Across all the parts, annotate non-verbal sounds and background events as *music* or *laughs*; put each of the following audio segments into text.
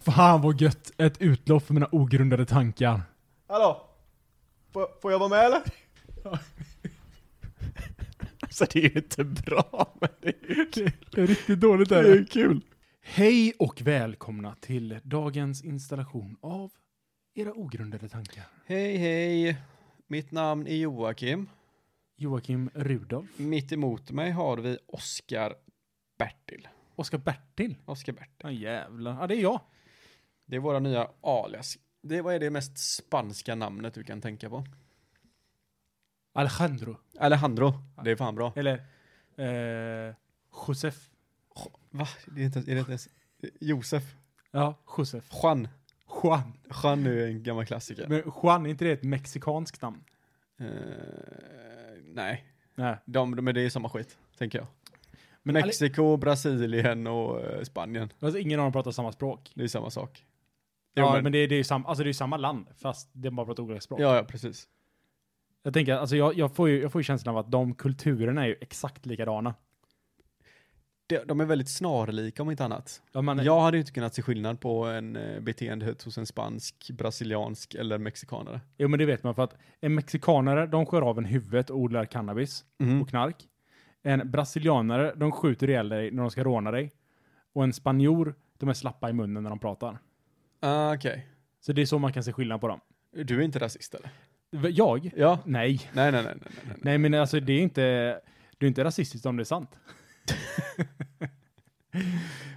Fan vad gött! Ett utlopp för mina ogrundade tankar. Hallå? Får, får jag vara med eller? Alltså det är ju inte bra, men det är ju kul. Det är riktigt dåligt Det är ju kul. Hej och välkomna till dagens installation av era ogrundade tankar. Hej hej. Mitt namn är Joakim. Joakim Rudolf. Mitt emot mig har vi Oskar Bertil. Oskar Bertil. Oskar Bertil. Ja jävlar. Ja det är jag. Det är våra nya alias. Det, vad är det mest spanska namnet du kan tänka på? Alejandro. Alejandro. Det är fan bra. Eller eh, Josef. Va? Det är inte, är det inte ens... Josef. Ja, Josef. Juan. Juan. Juan är ju en gammal klassiker. Men Juan, är inte det ett mexikanskt namn? Eh, nej. Nej. De, de, men det är samma skit, tänker jag. Men Mex- Mexiko, Brasilien och eh, Spanien. alltså, ingen av dem pratar samma språk. Det är samma sak. Jo, Ja, men, det, är- det är ju samma, alltså det är ju samma land, fast det är bara pratar olika språk. ja, ja, precis. Jag tänker, alltså jag, jag, får ju, jag får ju känslan av att de kulturerna är ju exakt likadana. De, de är väldigt snarlika om inte annat. Ja, man, Jag hade ju inte kunnat se skillnad på en eh, beteendet hos en spansk, brasiliansk eller mexikanare. Jo, men det vet man för att en mexikanare, de skär av en huvudet och odlar cannabis Mhm. och knark. En brasilianare, de skjuter ihjäl dig när de ska råna dig. Och en spanjor, de är slappa i munnen när de pratar. Ah, Okej. Så det är så man kan se skillnad på dem. Du är inte rasist eller? V- Jag? Ja. Nej. Nej, nej, nej, nej, nej, nej. Nej, men alltså det är inte, det är inte rasistiskt om det är sant.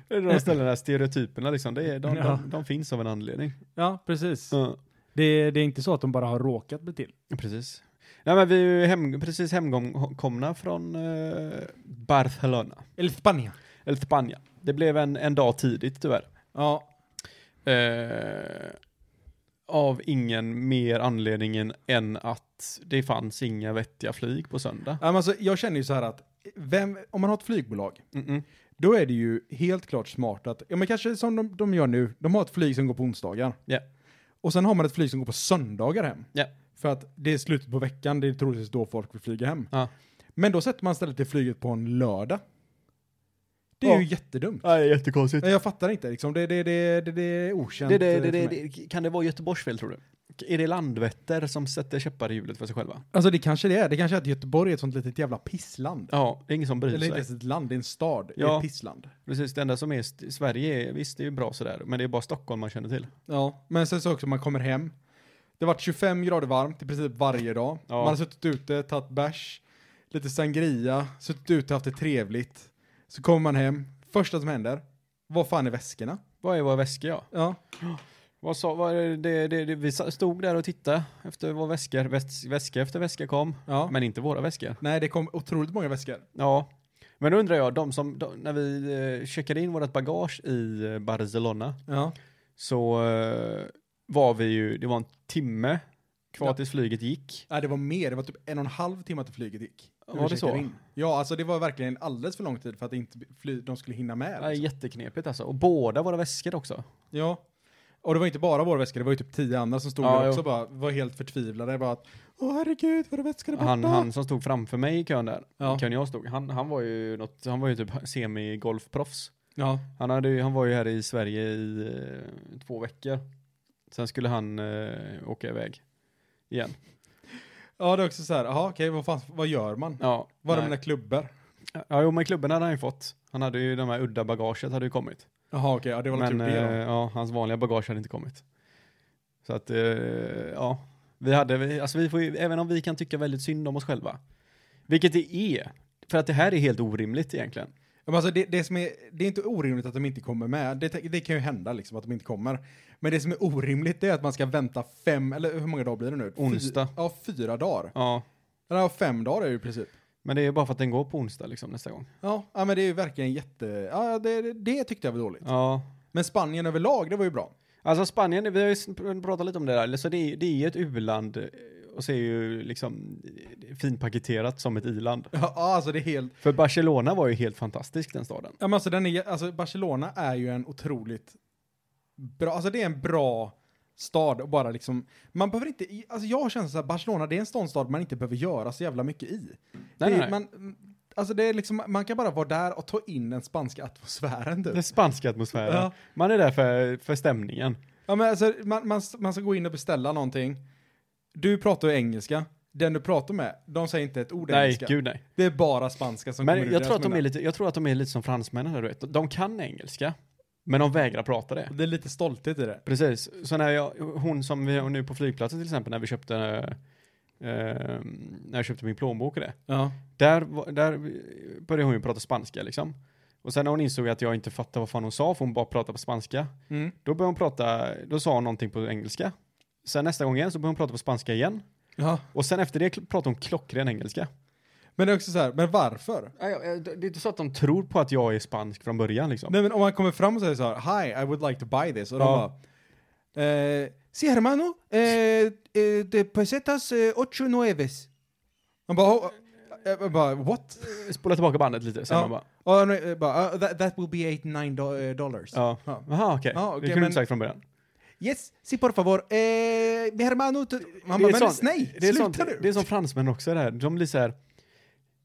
Det är *laughs* De ställer de här stereotyperna liksom, det är, de, Ja. de, de finns av en anledning. Ja, precis. Ja, Det, det är inte så att de bara har råkat bli till. precis. Nej men vi är ju hem, precis hemkomna från eh, Barcelona, Eller Spanien. eller Spanien. Det blev en, en dag tidigt tyvärr. Ja, Eh, av ingen mer anledning än att det fanns inga vettiga flyg på söndag. Ja, men alltså, jag känner ju så här att vem, om man har ett flygbolag, Mm-mm. då är det ju helt klart smart att, ja men kanske som de, de gör nu, de har ett flyg som går på onsdagar. Ja. Och sen har man ett flyg som går på söndagar hem. Ja. För att det är slutet på veckan, det är troligtvis då folk vill flyga hem. Ja. Men då sätter man istället det flyget på en lördag. Det är Ja. ju jättedumt. Nej, jättekonstigt. Nej, Jag fattar inte liksom, det, det, det, det, det är okänt. Det, det, eh, det, för det, mig. det, kan det vara Göteborgs fel tror du? Är det Landvetter som sätter käppar i hjulet för sig själva? Alltså det kanske det är, det kanske är att Göteborg är ett sånt litet jävla pissland. Ja, det är ingen som bryr Eller inte sig. ens ett land, det är en stad, det är Ja. ett pissland. Precis, det enda som är st- Sverige, är, visst det är ju bra sådär, men det är bara Stockholm man känner till. Ja, men sen så också man kommer hem. Det har varit 25 grader varmt i princip varje dag. Ja. Man har suttit ute, tagit bärs, lite sangria, suttit ute, haft det trevligt. Så kommer man hem, första som händer, vad fan är väskorna? Vad är vår väska ja? Ja, Vad sa, vad är det, det, det, vi sa- stod där och tittade efter våra väskor, väs, väska efter väska kom, ja. men inte våra väskor. Nej, det kom otroligt många väskor. Ja, men då undrar jag, de som, de, när vi eh, checkade in vårt bagage i eh, Barcelona Ja. så eh, var vi ju, det var en timme kvar Ja. tills flyget gick. Nej, det var mer, det var typ en och en halv timme till flyget gick. När vi Var det checkade så? Ja, alltså det var verkligen alldeles för lång tid för att inte fly, de skulle hinna med. Det är Liksom. jätteknepigt alltså. Och båda våra väskor också. Ja. Och det var inte bara vår väska, det var ju typ tio andra som stod Ja, där också jo. bara, var helt förtvivlade. Bara att, Åh herregud, våra väskor är borta. Han, han som stod framför mig i kön där, Ja. i kön jag stod, han, han var ju något, han var ju typ semi-golfproffs. Ja. Han, hade, ju- han var ju här i Sverige i eh, två veckor. Sen skulle han eh, åka iväg igen. ja, det är också så här, jaha okej, vad fan, vad gör man? Ja, Var är nej. mina klubbor? Ja, jo, men klubben hade han ju fått. Han hade ju, de här udda bagaget hade ju kommit. Jaha okej, ja, det var väl Men typ det eh, då. ja, hans vanliga bagage hade inte kommit. Så att, eh, ja. Vi hade, vi- alltså vi får ju, även om vi kan tycka väldigt synd om oss själva. Vilket det är. För att det här är helt orimligt egentligen. Men alltså det, det som är, det är inte orimligt att de inte kommer med. Det, det kan ju hända liksom att de inte kommer. Men det som är orimligt det är att man ska vänta fem, eller hur många dagar blir det nu? Fy- Onsdag. ja, fyra dagar. Ja. Eller ja, fem dagar är det i princip. Men det är bara för att den går på onsdag liksom nästa gång. Ja, ja men det är ju verkligen jätte, ja det, det, det tyckte jag var dåligt. Ja. Men Spanien överlag, det var ju bra. Alltså Spanien, vi har ju s- pratat lite om det där. Eller Så det är, det är ju ett u-land eh, och så är ju liksom eh, finpaketerat som ett i-land. *laughs* Ja, alltså det är helt... För Barcelona var ju helt fantastisk den staden. Ja, men alltså, den är, alltså Barcelona är ju en otroligt bra, alltså det är en bra stad och bara liksom, man behöver inte, i- alltså jag känner så här, Barcelona det är en sån stad man inte behöver göra så jävla mycket i. Nej, det, nej, nej. Man, alltså det är liksom, man kan bara vara där och ta in den spanska atmosfären typ. Den spanska atmosfären. Ja. Man är där för, för stämningen. Ja, men alltså, man, man, man ska gå in och beställa någonting. Du pratar ju engelska. Den du pratar med, de säger inte ett ord Nej, engelska. gud nej. Det är bara spanska som kommer Men ur jag deras tror, att de munnar. är lite, jag tror att de är lite som fransmännen, där, du vet. De kan engelska, men de vägrar prata det. Det är lite stolthet i det. Precis. Så när jag, hon som vi har nu på flygplatsen till exempel, när vi köpte, eh, eh, när jag köpte min plånbok och det. Ja. Där, var- där började hon ju prata spanska liksom. Och sen när hon insåg att jag inte fattade vad fan hon sa, för hon bara pratade på spanska. Mm. Då började hon prata, då sa hon någonting på engelska. Sen nästa gång igen så började hon prata på spanska igen. ja. Och sen efter det kl- pratade hon klockren engelska. Men det är också så här, men varför? Ja, ja, Det är inte så att de tror på att jag är spansk från början liksom. Nej men om man kommer fram och säger så här, Hi, I would like to buy this. Och Ja. de bara, eh, Si hermano, eh, eh, de pesetas eh, ocho nueves. Man bara, oh, eh, jag bara what? Spola tillbaka bandet lite, sen Ja. man bara, Och han, eh, bara, "Uh, that, that will be eight, nine do- eh, dollars. ja. Ja. Jaha okej, Ja, det okej, kunde du men- inte sagt från början. Yes, si por favor, eh, mi hermano... t- Man bara, är men sånt- nej, det är sluta sånt, nu. Det är som fransmän också det här, de blir så här.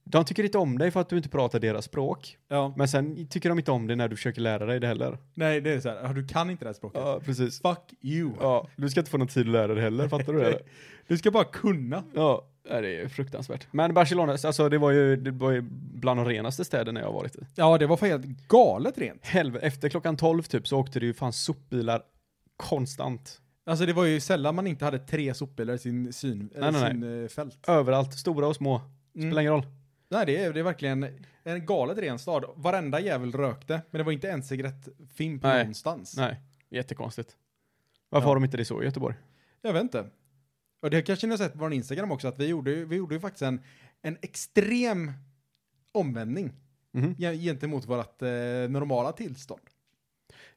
De tycker inte om dig för att du inte pratar deras språk. ja, Men sen tycker de inte om dig när du försöker lära dig det heller. nej, det är så här, "Ah, du kan inte det här språket. Ja, precis. Fuck you. Ja, du ska inte få någon tid att lära dig heller, fattar du det? Du ska bara kunna. Ja, nej, det är fruktansvärt. Men Barcelona, alltså det var ju, det var ju bland de renaste städerna jag har varit i. Ja, det var fan helt galet rent. Helvete, efter klockan 12 typ så åkte det ju fan sopbilar konstant. Alltså det var ju sällan man inte hade tre sopbilar i sin syn, Nej, nej, nej. sin eh, fält. Överallt, stora och små. Spelar Mm. ingen roll. Nej, det är, det är verkligen en galet ren stad. Varenda jävel rökte, men det var inte en cigarettfimp Nej. någonstans. Nej, jättekonstigt. Varför Ja. har de inte det så i Göteborg? Jag vet inte. Och det kanske ni har sett på vår Instagram också, att vi gjorde, ju- vi gjorde ju faktiskt en, en extrem omvändning Mhm. ge- gentemot vårt eh, normala *laughs* tillstånd.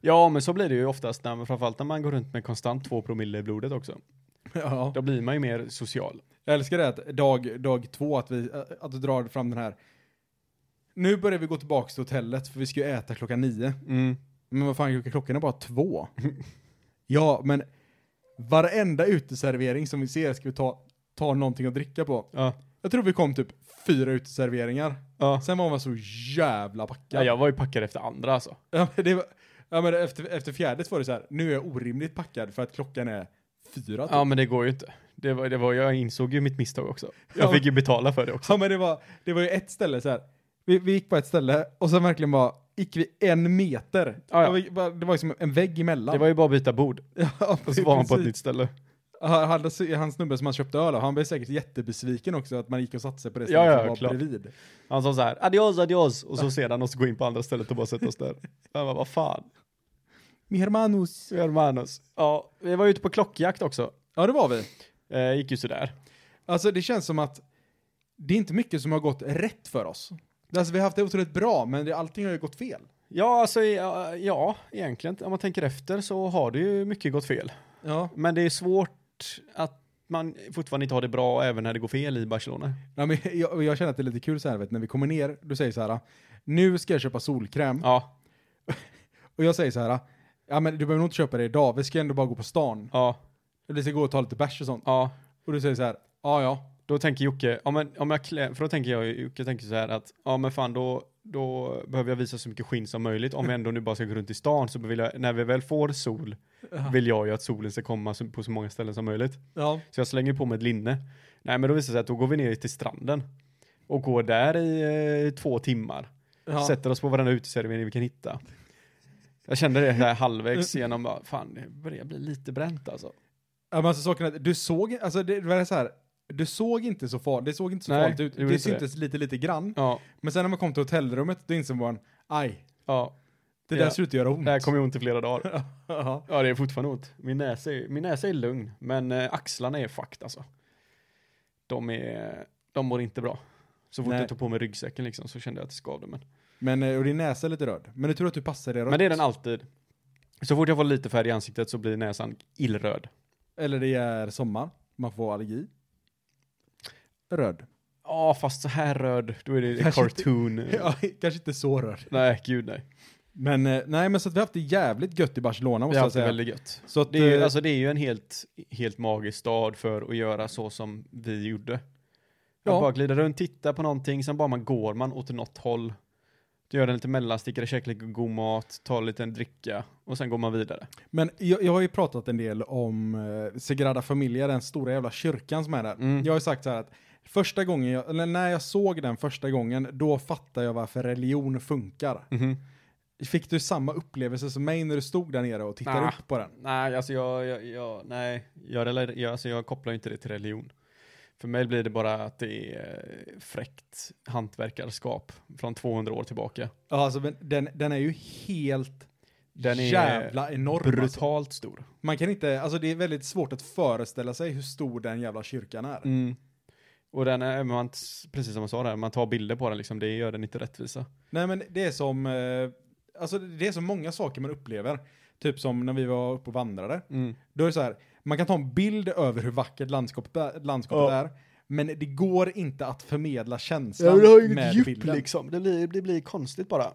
Ja, men så blir det ju oftast, när, framförallt när man går runt med konstant två promille i blodet också. Ja. Då blir man ju mer social. Jag älskar det att dag, dag två, att, vi, eh, att du drar fram den här. Nu börjar vi gå tillbaka till hotellet, för vi ska ju äta klockan nio. Men vad fan, klockan är bara två. ja, men varenda uteservering som vi ser ska vi ta, ta någonting att dricka på. Ja. Jag tror vi kom typ fyra uteserveringar. Ja. Sen var man så jävla ja, packad. jag var ju packad efter andra alltså. Ja, men, det var, ja, men efter, efter fjärdet var det så här, nu är jag orimligt packad för att klockan är fyra. Typ. Ja, men det går ju inte. Det var, det var, jag insåg ju mitt misstag också. Ja. Jag fick ju betala för det också. Ja, men det var, det var ju ett ställe så här. Vi, vi gick på ett ställe och sen verkligen bara gick vi en meter. Ja, ja. Och vi bara- Det var ju som en vägg emellan. Det var ju bara att byta bord. *laughs* ja, Och så var man på ett precis. nytt ställe. Ja, Han, han snubben som han köpte öl av, han blev säkert jättebesviken också att man gick och satte sig på det Ja, stället ja, som var klart. bredvid. Han sa så här, adios, adios, och så sedan oss gå in på andra stället och bara sätta oss där. Jag bara, vad fan, Mi hermanos. hermanos. Ja, vi var ute på klockjakt också. Ja, det var vi. Eh, gick ju sådär. Alltså det känns som att det är inte mycket som har gått rätt för oss. Alltså vi har haft det otroligt bra, men det, allting har ju gått fel. Ja, alltså, ja, ja, egentligen, om man tänker efter så har det ju mycket gått fel. Ja. Men det är svårt att man fortfarande inte har det bra även när det går fel i Barcelona. ja men jag, jag känner att det är lite kul så här, vet, du, när vi kommer ner, du säger så här, nu ska jag köpa solkräm. Ja, Och jag säger så här, ja men du behöver nog inte köpa det idag, vi ska ändå bara gå på stan. ja, Vi ska gå och ta lite bärs och sånt. ja. Och du säger så här, ja ja. Då tänker Jocke, ja, men, om jag klä, för då tänker jag, Jocke tänker så här att, ja men fan då, då behöver jag visa så mycket skinn som möjligt. Om jag ändå nu bara ska gå runt i stan så vill jag, när vi väl får sol, vill jag ju att solen ska komma så- på så många ställen som möjligt. Ja. Så jag slänger på mig ett linne. Nej men då visar det sig att då går vi ner till stranden och går där i eh, två timmar. ja. Sätter oss på varenda uteservering vi kan hitta. Jag kände det här halvvägs genom, bara, fan det börjar bli lite bränt alltså. Ja, men alltså saken är att du såg, alltså det var så här, du såg inte så farligt, det såg inte så Nej, farligt ut. det gjorde Det inte det. syntes lite, lite grann. Ja, Men sen när man kom till hotellrummet, då insåg man, aj, det ja, Ja. där slutade göra ont. det här kommer ju ont i flera dagar. Mm. *laughs* ja. Ja, det är fortfarande ont. Min näsa är, min näsa är lugn, men eh, axlarna är fucked alltså. De, är, de mår inte bra. Så fort Nej. jag tog på mig ryggsäcken liksom så kände jag att det skavde. Men, Men, eh, och din näsa är lite röd. Men du tror att du passar det rött. men det är den alltid. Så fort jag får lite färg i ansiktet så blir näsan illröd. Eller det är sommar, man får allergi. Röd. Ja, fast så här röd, då *laughs* är det Kanske cartoon. *laughs* Ja, kanske inte så röd. Nej, gud nej. Men eh, nej, men så att vi har haft det jävligt gött i Barcelona Vi måste har jag haft det säga. väldigt gött. Så att, Det är, ju, eh, alltså, det är ju en helt, helt magisk stad för att göra så som vi gjorde. Ja. Man bara glider runt, tittar på någonting, sen bara man går man åt något håll. Du gör en liten mellanstickare, käkar lite god mat, tar en liten dricka och sen går man vidare. Men jag, jag har ju pratat en del om eh, Sagrada Familia, den stora jävla kyrkan som är där. Mm. Jag har ju sagt så här att första gången, jag, eller när jag såg den första gången, då fattade jag varför religion funkar. Mhm. Fick du samma upplevelse som mig när du stod där nere och tittade Ah. upp på den? Nej, alltså jag, jag, jag nej, jag, rela- jag, alltså jag kopplar ju inte det till religion. För mig blir det bara att det är eh, fräckt hantverkarskap från 200 år tillbaka. Ja, alltså men den, den är ju helt Den är jävla enorm. Alltså. Brutalt stor. Man kan inte, alltså det är väldigt svårt att föreställa sig hur stor den jävla kyrkan är. Mm. Och den är, man, precis som jag sa där, man tar bilder på den liksom, det gör den inte rättvisa. Nej men det är som, eh, alltså det är så många saker man upplever. Typ som när vi var uppe och vandrade. Mm. Då är det så här, man kan ta en bild över hur vackert landskapet är, landskapet Ja. är men det går inte att förmedla Ja, känslan men det har ju med inget djup bilden. liksom. Det blir, det blir konstigt bara.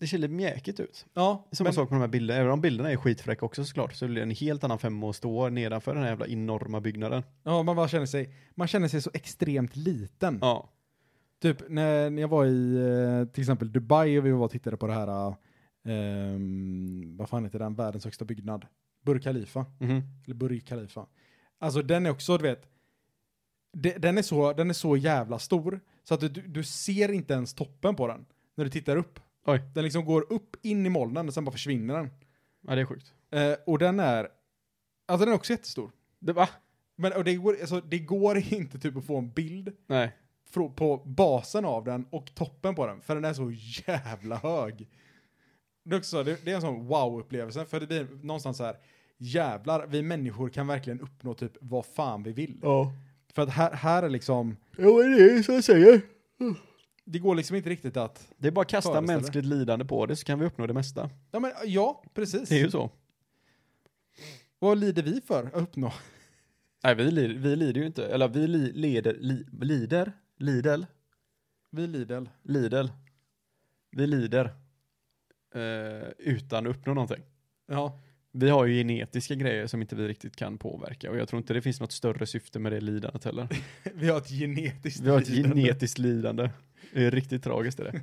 Det ser lite mjäkigt ut. Ja, Samma men, sak med de här bilderna. Även om bilderna är skitfräcka också såklart så blir det en helt annan femma att stå nedanför den här jävla enorma byggnaden. ja, man bara känner sig, man känner sig så extremt liten. Ja. Typ när, när jag var i eh, till exempel Dubai och vi var och tittade på det här, eh, vad fan heter den, världens högsta byggnad? Burj Khalifa. Mhm. Eller Burj Khalifa. Alltså den är också, du vet, de- den är så, den är så jävla stor så att du, du ser inte ens toppen på den när du tittar upp. Oj. Den liksom går upp in i molnen och sen bara försvinner den. Ja, det är sjukt. Eh, och den är, alltså den är också jättestor. Det, va? Men och det, går, alltså, det går *laughs* inte typ att få en bild Nej. frå- på basen av den och toppen på den, för den är så jävla hög. Det är, också, det, det är en sån wow-upplevelse, för det blir någonstans så här, jävlar, vi människor kan verkligen uppnå typ vad fan vi vill. Ja. För att här, här är liksom, Jo, det är så jag säger. det går liksom inte riktigt att, Det är bara att kasta Föreställ dig. mänskligt lidande på det så kan vi uppnå det mesta. ja men ja, precis. Det är ju så. Vad lider vi för att uppnå? Nej, vi, li- vi lider ju inte. Eller vi li- leder, li- lider, lidel, Vi Lidl. lidel. Vi lider. Eh, utan att uppnå någonting. Ja. *laughs* Vi har ju genetiska grejer som inte vi riktigt kan påverka och jag tror inte det finns något större syfte med det lidandet heller. Vi har ett genetiskt Vi har ett lidande. genetiskt lidande. Det är riktigt tragiskt är det.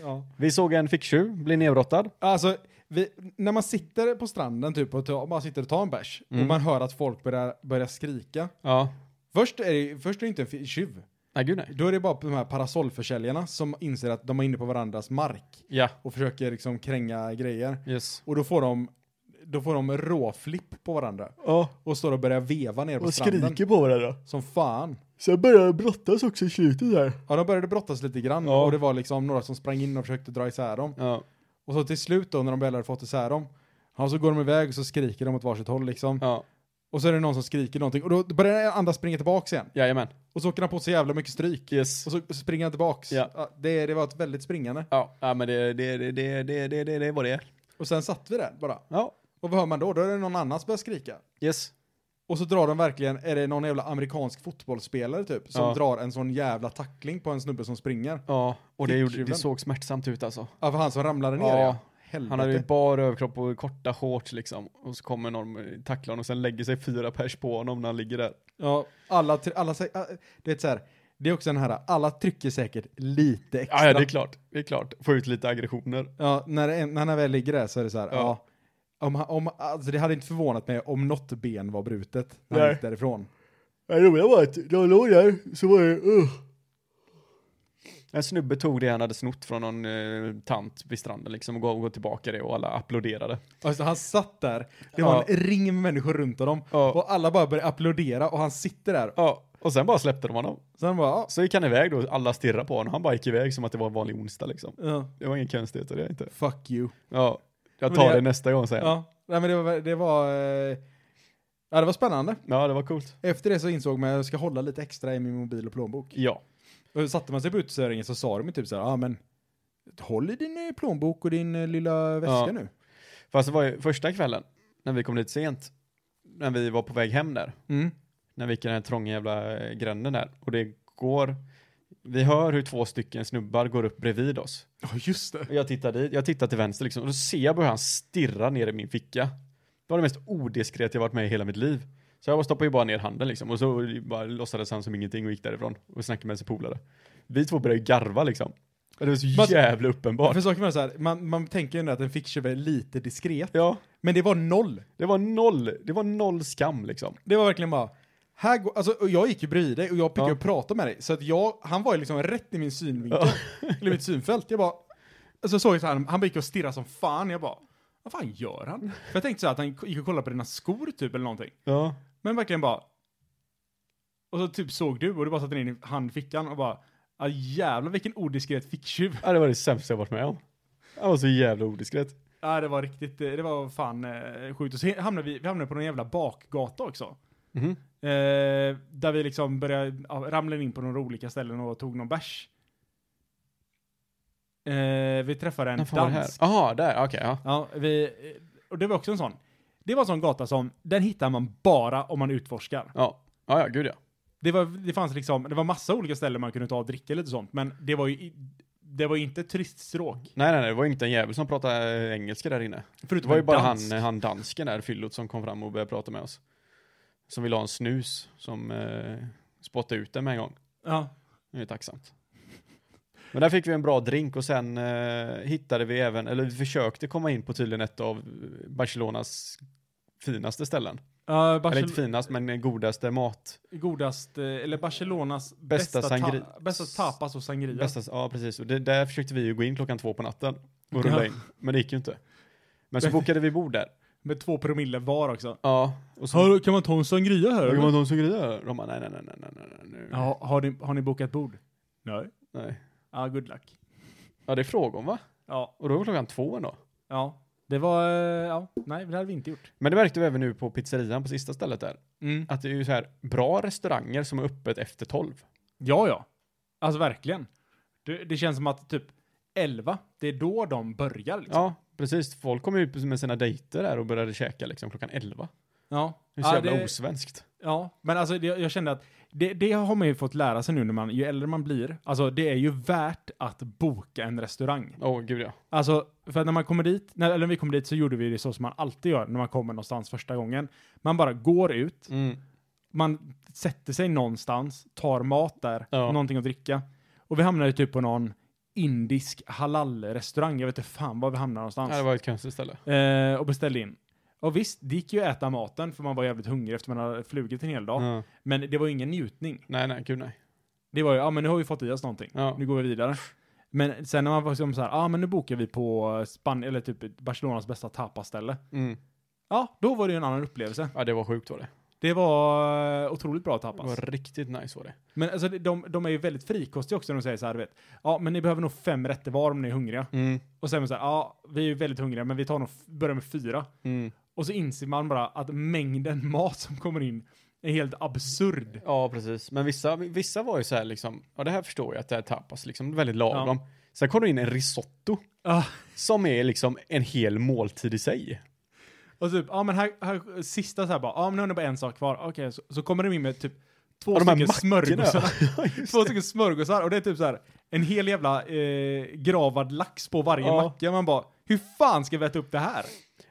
ja. *laughs* Vi såg en ficktjuv bli nedbrottad. Alltså, vi, när man sitter på stranden typ och tar- man sitter och tar en bärs Mm. och man hör att folk börjar, börjar skrika. Ja. Först är, det, först är det inte en fi- tjuv. Nej, gud nej. Då är det bara de här parasollförsäljarna som inser att de är inne på varandras mark Ja, och försöker liksom kränga grejer. yes. Och då får de, då får de råflipp på varandra Ja, och står och börjar veva ner på stranden. på varandra. Som fan. Sen började de brottas också i slutet där. Ja, de började brottas lite grann Ja. och det var liksom några som sprang in och försökte dra isär dem. Ja, Och så till slut då när de väl hade fått isär dem, ja, så går de iväg och så skriker de åt varsitt håll liksom. ja, Och så är det någon som skriker någonting och då börjar den andra springa tillbaks igen. jajamän. Och så åker han på sig jävla mycket stryk. Yes. Och så springer han tillbaks. Ja. det, det var ett väldigt springande. Ja, ja men det, det, det, det, det, det, det, det var det. Och sen satt vi där bara. Ja, Och vad hör man då? Då är det någon annan som börjar skrika. yes. Och så drar de verkligen, är det någon jävla amerikansk fotbollsspelare typ, som Ja. drar en sån jävla tackling på en snubbe som springer. Ja, och det, gjorde, det Ficktjuven. såg smärtsamt ut alltså. Ja, för han som ramlade ner Ja. ja. Helvete. Han hade ju bar överkropp och korta shorts liksom. Och så kommer någon, eh, tacklar honom och sen lägger sig fyra pers på honom när han ligger där. Ja, alla, try- alla, sä- äh, du vet så här, det är också den här, alla trycker säkert lite Ja, extra. ja, det är klart. Det är klart. Få ut lite aggressioner. Ja, när, det- när han väl ligger där så är det så här, Ja. ja. om, han- om, alltså det hade inte förvånat mig om något ben var brutet när han Nej. gick därifrån. Det roliga var att jag låg där, så var det uh. En snubbe tog det han hade snott från någon eh, tant vid stranden liksom och gav, gav tillbaka det och alla applåderade. Alltså han satt där, det var Ja. en ring med människor runt honom Ja. och alla bara började applådera och han sitter där. Ja, och sen bara släppte de honom. Så han bara, ja, Så gick han iväg då, alla stirrade på honom. Han bara gick iväg som att det var en vanlig onsdag liksom. ja, Det var ingen konstighet, det är inte. fuck you. Ja, jag Men tar det- det nästa gång säger han. Ja, nej men det var, det var, eh, ja det var spännande. Ja, det var coolt. Efter det så insåg man att jag ska hålla lite extra i min mobil och plånbok. Ja. Och satte man sig på uteserveringen så sa de ju typ så här, ja ah, men håll i din eh, plånbok och din eh, lilla väska Ja. nu. Fast det var ju första kvällen, när vi kom dit sent, när vi var på väg hem där, Mm. när vi gick i den här trånga jävla eh, gränden där, och det går, vi hör hur två stycken snubbar går upp bredvid oss. Ja, just det. Och jag tittar dit, jag tittar till vänster liksom, och då ser jag bara hur han stirrar ner i min ficka. Det var det mest odiskreta jag varit med i hela mitt liv. Så jag bara stoppade ju bara ner handen liksom och så bara låtsades han som ingenting och gick därifrån och snackade med sin polare. Vi två började ju garva liksom. Och det var så Fast- jävla uppenbart. För saken var så här, man, man tänker ju ändå att en ficktjuv är lite diskret. Ja, Men det var noll. det var noll, det var noll skam liksom. Det var verkligen bara, här går, alltså, och jag gick ju bredvid dig och jag fick Ja. ju prata med dig. Så att jag, han var ju liksom rätt i min synvinkel, eller mitt synfält. Jag bara, alltså jag såg att han, han gick och stirrade som fan. Jag bara, vad fan gör han? För jag tänkte så här att han gick och kollade på dina skor typ eller någonting. *laughs* Ja. Men verkligen bara, och så typ såg du och du bara satte ner din hand i fickan och bara, ah, jävlar vilken odiskret ficktjuv. ja, det var det sämsta jag varit med om. Han var så jävla odiskret. Ja, det var riktigt, eh, det var fan eh, sjukt. Och så hamnade vi, vi hamnade på någon jävla bakgata också. Mhm. Eh, där vi liksom började, ja, ramlade in på några olika ställen och tog någon bärs. Eh, vi träffade en När fan var det här? dansk. Jaha, där, okej. ja. Ja, vi, eh, och det var också en sån. Det var en sån gata som, den hittar man bara om man utforskar. Ja. ja, ja, gud ja. Det var, det fanns liksom, det var massa olika ställen man kunde ta och dricka lite sånt, men det var ju, i- det var ju inte turiststråk. Nej, nej, nej, det var inte en jävel som pratade eh, engelska där inne. Det Förutom var ju en bara dansk. han, eh, han dansken där, fyllot, som kom fram och började prata med oss. Som ville ha en snus, som eh, spottade ut den med en gång. Ja. Det är tacksamt. Men där fick vi en bra drink och sen eh, hittade vi även, eller vi försökte komma in på tydligen ett av Barcelonas finaste ställen. Ja, Eller Barcel- inte finast, men godaste mat. godast, eh, eller Barcelonas Bästa bästa, sangri- ta- bästa tapas och sangria. Bästa, ja, precis. Och det, där försökte vi ju gå in klockan två på natten och rulla Ja. in. Men det gick ju inte. Men så bokade vi bord där. Med två promille var också. Ja, och så... Hallå, kan man ta en sangria här? Kan eller? man ta en sangria? De bara, nej, nej, nej, nej, nej, nej, nej, nu. Ja, har, ni, har ni bokat bord? Nej. nej. Ja, good luck. Ja, det är frågan va? Ja, Och då var klockan två ändå. ja. Det var, eh, ja, nej, det hade vi inte gjort. Men det märkte vi även nu på pizzerian på sista stället där. Mm. Att det är ju så här bra restauranger som är öppet efter tolv. Ja, ja. Alltså verkligen. Det, det känns som att typ 11, det är då de börjar liksom. Ja, precis. Folk kommer ju med sina dejter där och började käka liksom klockan elva. Ja. Det är så Ja, jävla det- osvenskt. Ja, men alltså det, jag kände att det, det har man ju fått lära sig nu när man, ju äldre man blir. Alltså det är ju värt att boka en restaurang. Åh, gud ja. Alltså, för att när man kommer dit, när, eller när vi kom dit så gjorde vi det så som man alltid gör när man kommer någonstans första gången. Man bara går ut, Mm. man sätter sig någonstans, tar mat där, Ja. någonting att dricka. Och vi hamnade typ på någon indisk halalrestaurang, jag vet inte fan var vi hamnade Ja, någonstans. det var ett konstigt ställe. eh, och beställde in. Och visst, det gick ju att äta maten för man var jävligt hungrig efter man hade flugit en hel dag. Ja. Men det var ju ingen njutning. Nej, nej, gud nej. Det var ju, ja ah, men nu har vi fått i oss någonting. Ja. Nu går vi vidare. Men sen när man var liksom så här, ja ah, men nu bokar vi på Span eller typ Barcelonas bästa tapaställe. Mm. Ja, då var det ju en annan upplevelse. ja, det var sjukt var det. Det var eh, otroligt bra Det tapas. var riktigt nice var det. Men alltså det- de, de är ju väldigt frikostiga också när de säger så här, du vet. Ja, men ni behöver nog fem rätter var om ni är hungriga. Mm. Och sen är man så här, ja, vi är ju väldigt hungriga, men vi tar nog, f- börjar med fyra. Mm. Och så inser man bara att mängden *laughs* mat som kommer in är helt absurd. Ja, precis. Men vissa, vissa var ju så här liksom, ja det här förstår jag att det här tapas liksom, väldigt lagom. Sen kom det in en risotto Ja. som är liksom en hel måltid i sig. Och typ, ja men här, här sista så här bara, ja men nu har ni bara en sak kvar. Okej, så, så kommer de in med typ två Ja, de här stycken mackorna. smörgåsar. *laughs* *laughs* Ja, just två det. stycken smörgåsar och det är typ så här en hel jävla eh, gravad lax på varje Ja. macka. Man bara, hur fan ska vi äta upp det här?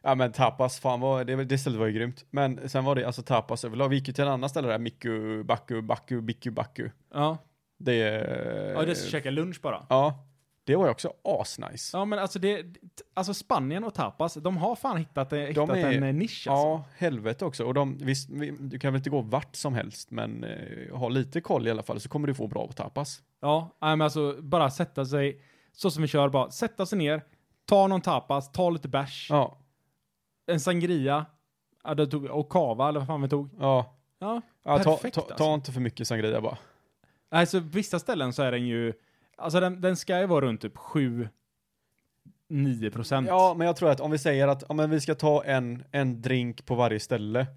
Ja men tapas, fan vad, det, det stället var ju grymt. Men sen var det alltså tapas överlag. Vi gick ju till en annan ställe där, Mikku, Baku, Baku, Biku, Baku. Ja, Det... är- ja det ska käka lunch bara. Ja. Det var ju också asnice. Ja men alltså det, alltså Spanien och tapas, de har fan hittat, eh, hittat är- en eh, nisch Ja, alltså. helvete också. Och de, visst, vi- du kan väl inte gå vart som helst, men eh, ha lite koll i alla fall så kommer du få bra tapas. Ja, nej, men alltså bara sätta sig, så som vi kör bara, sätta sig ner, ta någon tapas, ta lite bärs, Ja, en sangria, ja, det tog, och kava eller vad fan vi tog. ja. Ja, ja ta, Perfekt, ta, alltså. ta inte för mycket sangria bara. alltså vissa ställen så är den ju, alltså den, den ska ju vara runt typ 7, 9 procent. Ja, men jag tror att om vi säger att ja, men vi ska ta en, en drink på varje ställe,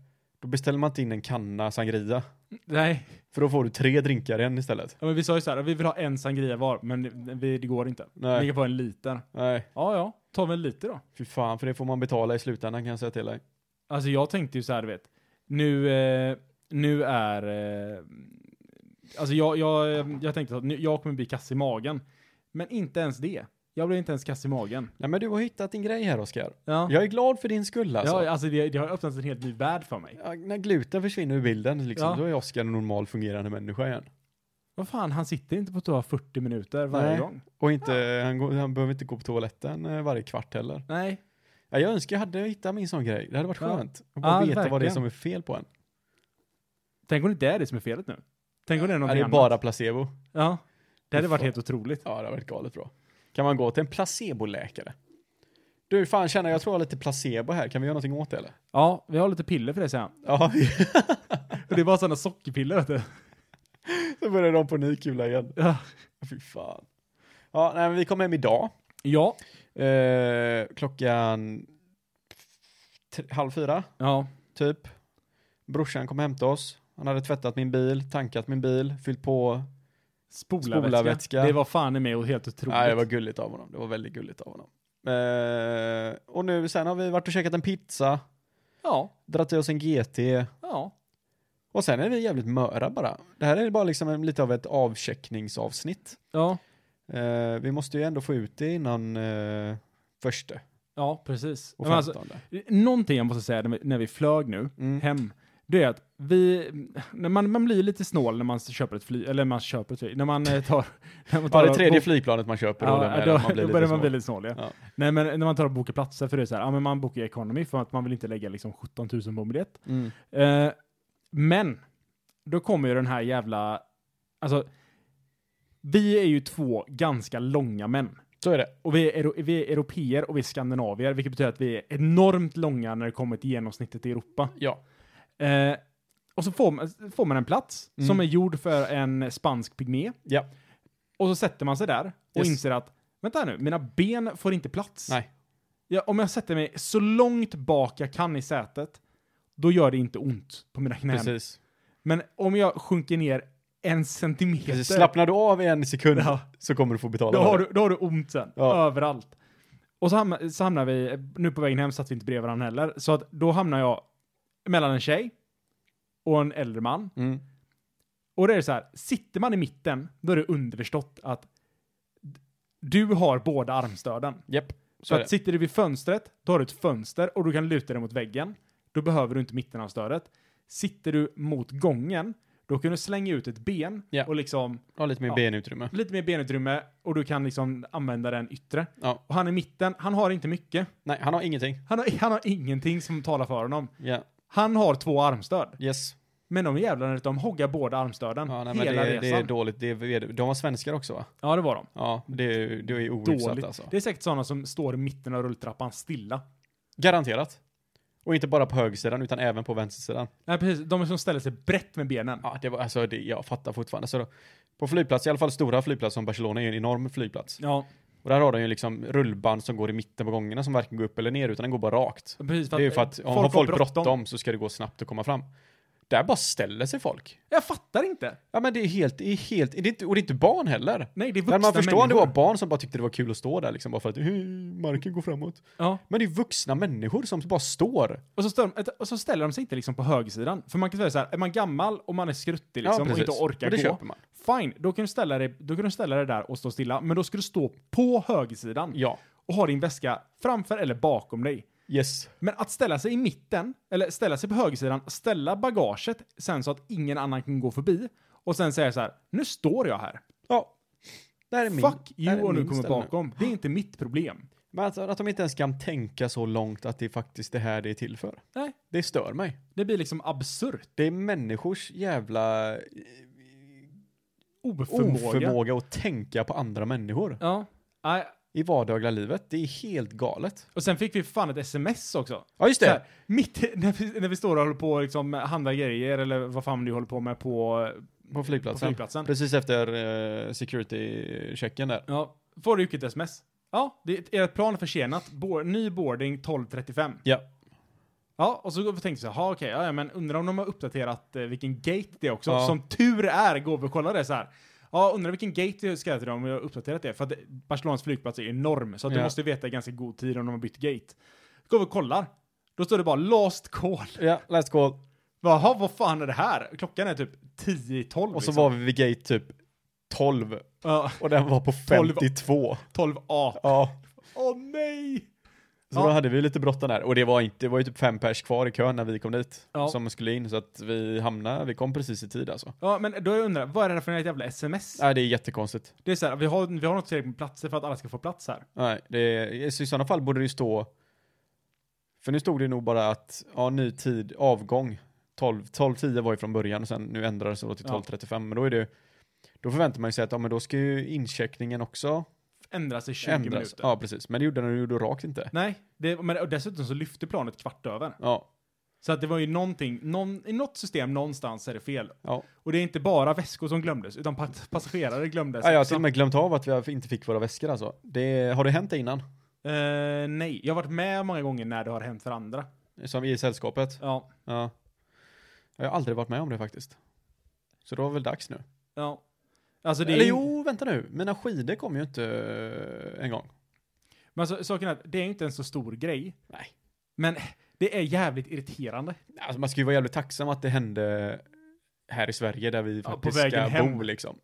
då beställer man inte in en kanna sangria. Nej, För då får du tre drinkar i en istället. ja, men vi sa ju så här, vi vill ha en sangria var, men vi, det går inte. Nej. Vi kan få en liter. Nej, Ja, ja, ta väl lite då. fy fan, för det får man betala i slutändan kan jag säga till dig. Alltså jag tänkte ju så här, du vet, nu, eh, nu är, eh, alltså jag, jag, eh, jag tänkte att nu, jag kommer bli kass i magen. Men inte ens det. Jag blev inte ens kass i magen. Nej men du har hittat din grej här Oskar. Ja. Jag är glad för din skull alltså. Ja, alltså det, det har öppnat en helt ny värld för mig. Ja, När gluten försvinner ur bilden liksom, Ja. då är Oskar en normal fungerande människa igen. Vad fan, han sitter inte på toa 40 minuter varje Nej. gång. Och inte, han, går, han behöver inte gå på toaletten eh, varje kvart heller. Nej. Ja, jag önskar jag hade hittat min sån grej. Det hade varit Ja. skönt. Att bara Ja, veta vad det är verkligen. som är fel på en. Tänk om det inte är det som är felet nu. Tänk om det är Ja, någonting det är annat. bara placebo. Ja. Det hade Fy varit fan. helt otroligt. Ja, det hade varit galet bra. Kan man gå till en placeboläkare? Du, fan känner jag tror jag har lite placebo här. Kan vi göra någonting åt det eller? Ja, vi har lite piller för det sen. *laughs* Ja, Och det är bara sådana sockerpiller, vet du. så börjar de på ny kula igen. Ja. Fy fan. Ja, nej, men vi kom hem idag. Ja. Eh, klockan t- halv fyra, Ja. typ. Brorsan kom och hämtade oss. Han hade tvättat min bil, tankat min bil, fyllt på. Spolarvätska. Spolarvätska. Det var fan i mig och helt otroligt. Nej, det var gulligt av honom. Det var väldigt gulligt av honom. Eh, och nu, sen har vi varit och käkat en pizza, Ja. dratt i oss en GT. Ja. Och sen är vi jävligt möra bara. Det här är bara liksom en, lite av ett avcheckningsavsnitt. Ja. Eh, vi måste ju ändå få ut det innan eh, första Ja, precis. och Men alltså, femtonde. någonting jag måste säga när vi- när vi flög nu Mm. hem, det är att vi, när man, man blir lite snål när man köper ett flyg, eller man köper ett flyg, när man eh, tar... *laughs* När man Ja, tar det är tredje bo- flygplanet man köper då, Ja, den då, där, då, man blir lite börjar snål. man bli lite snål, ja. Ja. Nej, men när man tar och bokar platser för det är så här, ja men man bokar economy för att man vill inte lägga liksom 17 000 på en biljett. Mm. Eh, men, då kommer ju den här jävla, alltså, vi är ju två ganska långa män. Så är det. Och vi är, euro, vi är europeer och vi är skandinavier, vilket betyder att vi är enormt långa när det kommer till genomsnittet i Europa. Ja. Eh, och så får man, får man en plats Mm. som är gjord för en spansk pygmé. Ja. Och så sätter man sig där och Yes. inser att, vänta här nu, mina ben får inte plats. Nej. Ja, om jag sätter mig så långt bak jag kan i sätet, då gör det inte ont på mina knän. Precis. Men om jag sjunker ner en centimeter, Precis. Slappnar du av i en sekund Ja. så kommer du få då, betala. för har det. du, då har du ont sen. Ja. Överallt. Och så, hamna, så hamnar vi, nu på vägen hem satt vi inte bredvid varandra heller, så att då hamnar jag mellan en tjej och en äldre man. Mm. Och det är så här, sitter man i mitten, då är det underförstått att d- du har båda armstöden. Japp. Så, Så är att det. sitter du vid fönstret, då har du ett fönster och du kan luta dig mot väggen. Då behöver du inte mittenarmstödet. Sitter du mot gången, då kan du slänga ut ett ben Ja. och liksom Ha lite mer Ja. benutrymme. lite mer benutrymme och du kan liksom använda den yttre. Ja. Och han i mitten, han har inte mycket. Nej, han har ingenting. Han har, *laughs* han har ingenting som talar för honom. Ja. Han har två armstöd. Yes. Men de jävlarna, de hoggar båda armstöden Ja, nej, men hela det, det resan. är dåligt. Det är, ved- de var svenskar också va? ja, det var de. Ja, det är, det är ohyfsat Dåligt. alltså. Det är säkert sådana som står i mitten av rulltrappan stilla. Garanterat. Och inte bara på högersidan utan även på vänstersidan. Nej, precis. De som ställer sig brett med benen. Ja, det var, alltså, det, jag fattar fortfarande. Så då, på flygplats, i alla fall stora flygplatser som Barcelona är ju en enorm flygplats. Ja, Och där har de ju liksom rullband som går i mitten på gångerna som varken går upp eller ner utan den går bara rakt. precis. Det är ju för eh, att om folk, folk bråttom så ska det gå snabbt att komma fram. Där bara ställer sig folk. Jag fattar inte. Ja men det är helt, det är helt, det är inte, och det är inte barn heller. Nej, det är vuxna Men man förstår om det människor. var barn som bara tyckte det var kul att stå där liksom bara för att "Hej, marken går framåt. Ja. Men det är vuxna människor som bara står. Och så, stör de, och så ställer de sig inte liksom på högersidan. För man kan säga så här, är man gammal och man är skruttig liksom och inte orkar och det gå. köper man. Fine, då kan, du ställa dig, då kan du ställa dig där och stå stilla. Men då ska du stå på högersidan Ja. och ha din väska framför eller bakom dig. Yes. Men att ställa sig i mitten, eller ställa sig på högersidan, ställa bagaget sen så att ingen annan kan gå förbi och sen säga så här, nu står jag här. Ja. Det här är min, Fuck det här you är och nu min kommer ställning. bakom. Det är inte mitt problem. Men alltså, att, att de inte ens kan tänka så långt att det är faktiskt det här det är till för. Nej, Det stör mig. det blir liksom absurt. Det är människors jävla eh, Oförmåga. oförmåga att tänka på andra människor Ja. Nej. i vardagliga livet. Det är helt galet. Och sen fick vi fan ett sms också. Ja, just Så det. här, mitt, *laughs* när, vi, när vi står och håller på och liksom handlar grejer eller vad fan du håller på med på, På på flygplatsen. flygplatsen. Precis efter eh, security-checken där. Ja, får du ju ett sms. Ja, det, ert plan är försenat. Bo, ny boarding 12.35. Ja. Ja, och så tänkte jag så här, "Ha, okej, ja, ja, men undrar om de har uppdaterat eh, vilken gate det är också. Ja. Som tur är går vi och kollar det så här. Ja, undrar vilken gate det ska till om jag har uppdaterat det. För att Barcelonas flygplats är enorm, så att du Ja. måste veta i ganska god tid om de har bytt gate. Går vi och kollar. Då står det bara last call. Ja, last call. Jaha, vad fan är det här? Klockan är typ 10 i 12 Och så var vi vid gate typ 12 Ja, och den var på 12. 52. 12A. Ja. Åh nej! Så Ja. då hade vi lite bråttom där och det var inte, det var ju typ fem pers kvar i kön när vi kom dit Ja. som skulle in så att vi hamnade, vi kom precis i tid alltså. Ja, men då jag undrar, vad är det för ett jävla sms? Nej, det är jättekonstigt. Det är så här, vi har, vi har något tillräckligt med platser för att alla ska få plats här. Nej, det är, så i sådana fall borde det ju stå... För nu stod det nog bara att, ja, ny tid, avgång. 12 12.10 var ju från början och sen nu ändrar det sig då till Ja. 12.35. Men då är det Då förväntar man ju sig att, ja men då ska ju incheckningen också Ändras i 20 ändras. minuter. Ja, precis. Men det gjorde den ju då rakt inte. Nej, det, men och dessutom så lyfte planet kvart över. Ja, Så att det var ju någonting, någon, i något system någonstans är det fel. ja. Och det är inte bara väskor som glömdes, utan pa- passagerare glömdes. ja jag har också. till och med glömt av att vi inte fick våra väskor alltså. Det, har det hänt det innan? Eh, nej, jag har varit med många gånger när det har hänt för andra. Som i sällskapet? Ja, Ja. Jag har aldrig varit med om det faktiskt. Så då var det väl dags nu. ja. Alltså det är Eller ju- jo, vänta nu. Mina skidor kom ju inte eh, en gång. Men alltså, saken är att det är ju inte en så stor grej. Nej. Men det är jävligt irriterande. Alltså, man ska ju vara jävligt tacksam att det hände här i Sverige där vi på faktiskt vägen ska hem. bo liksom.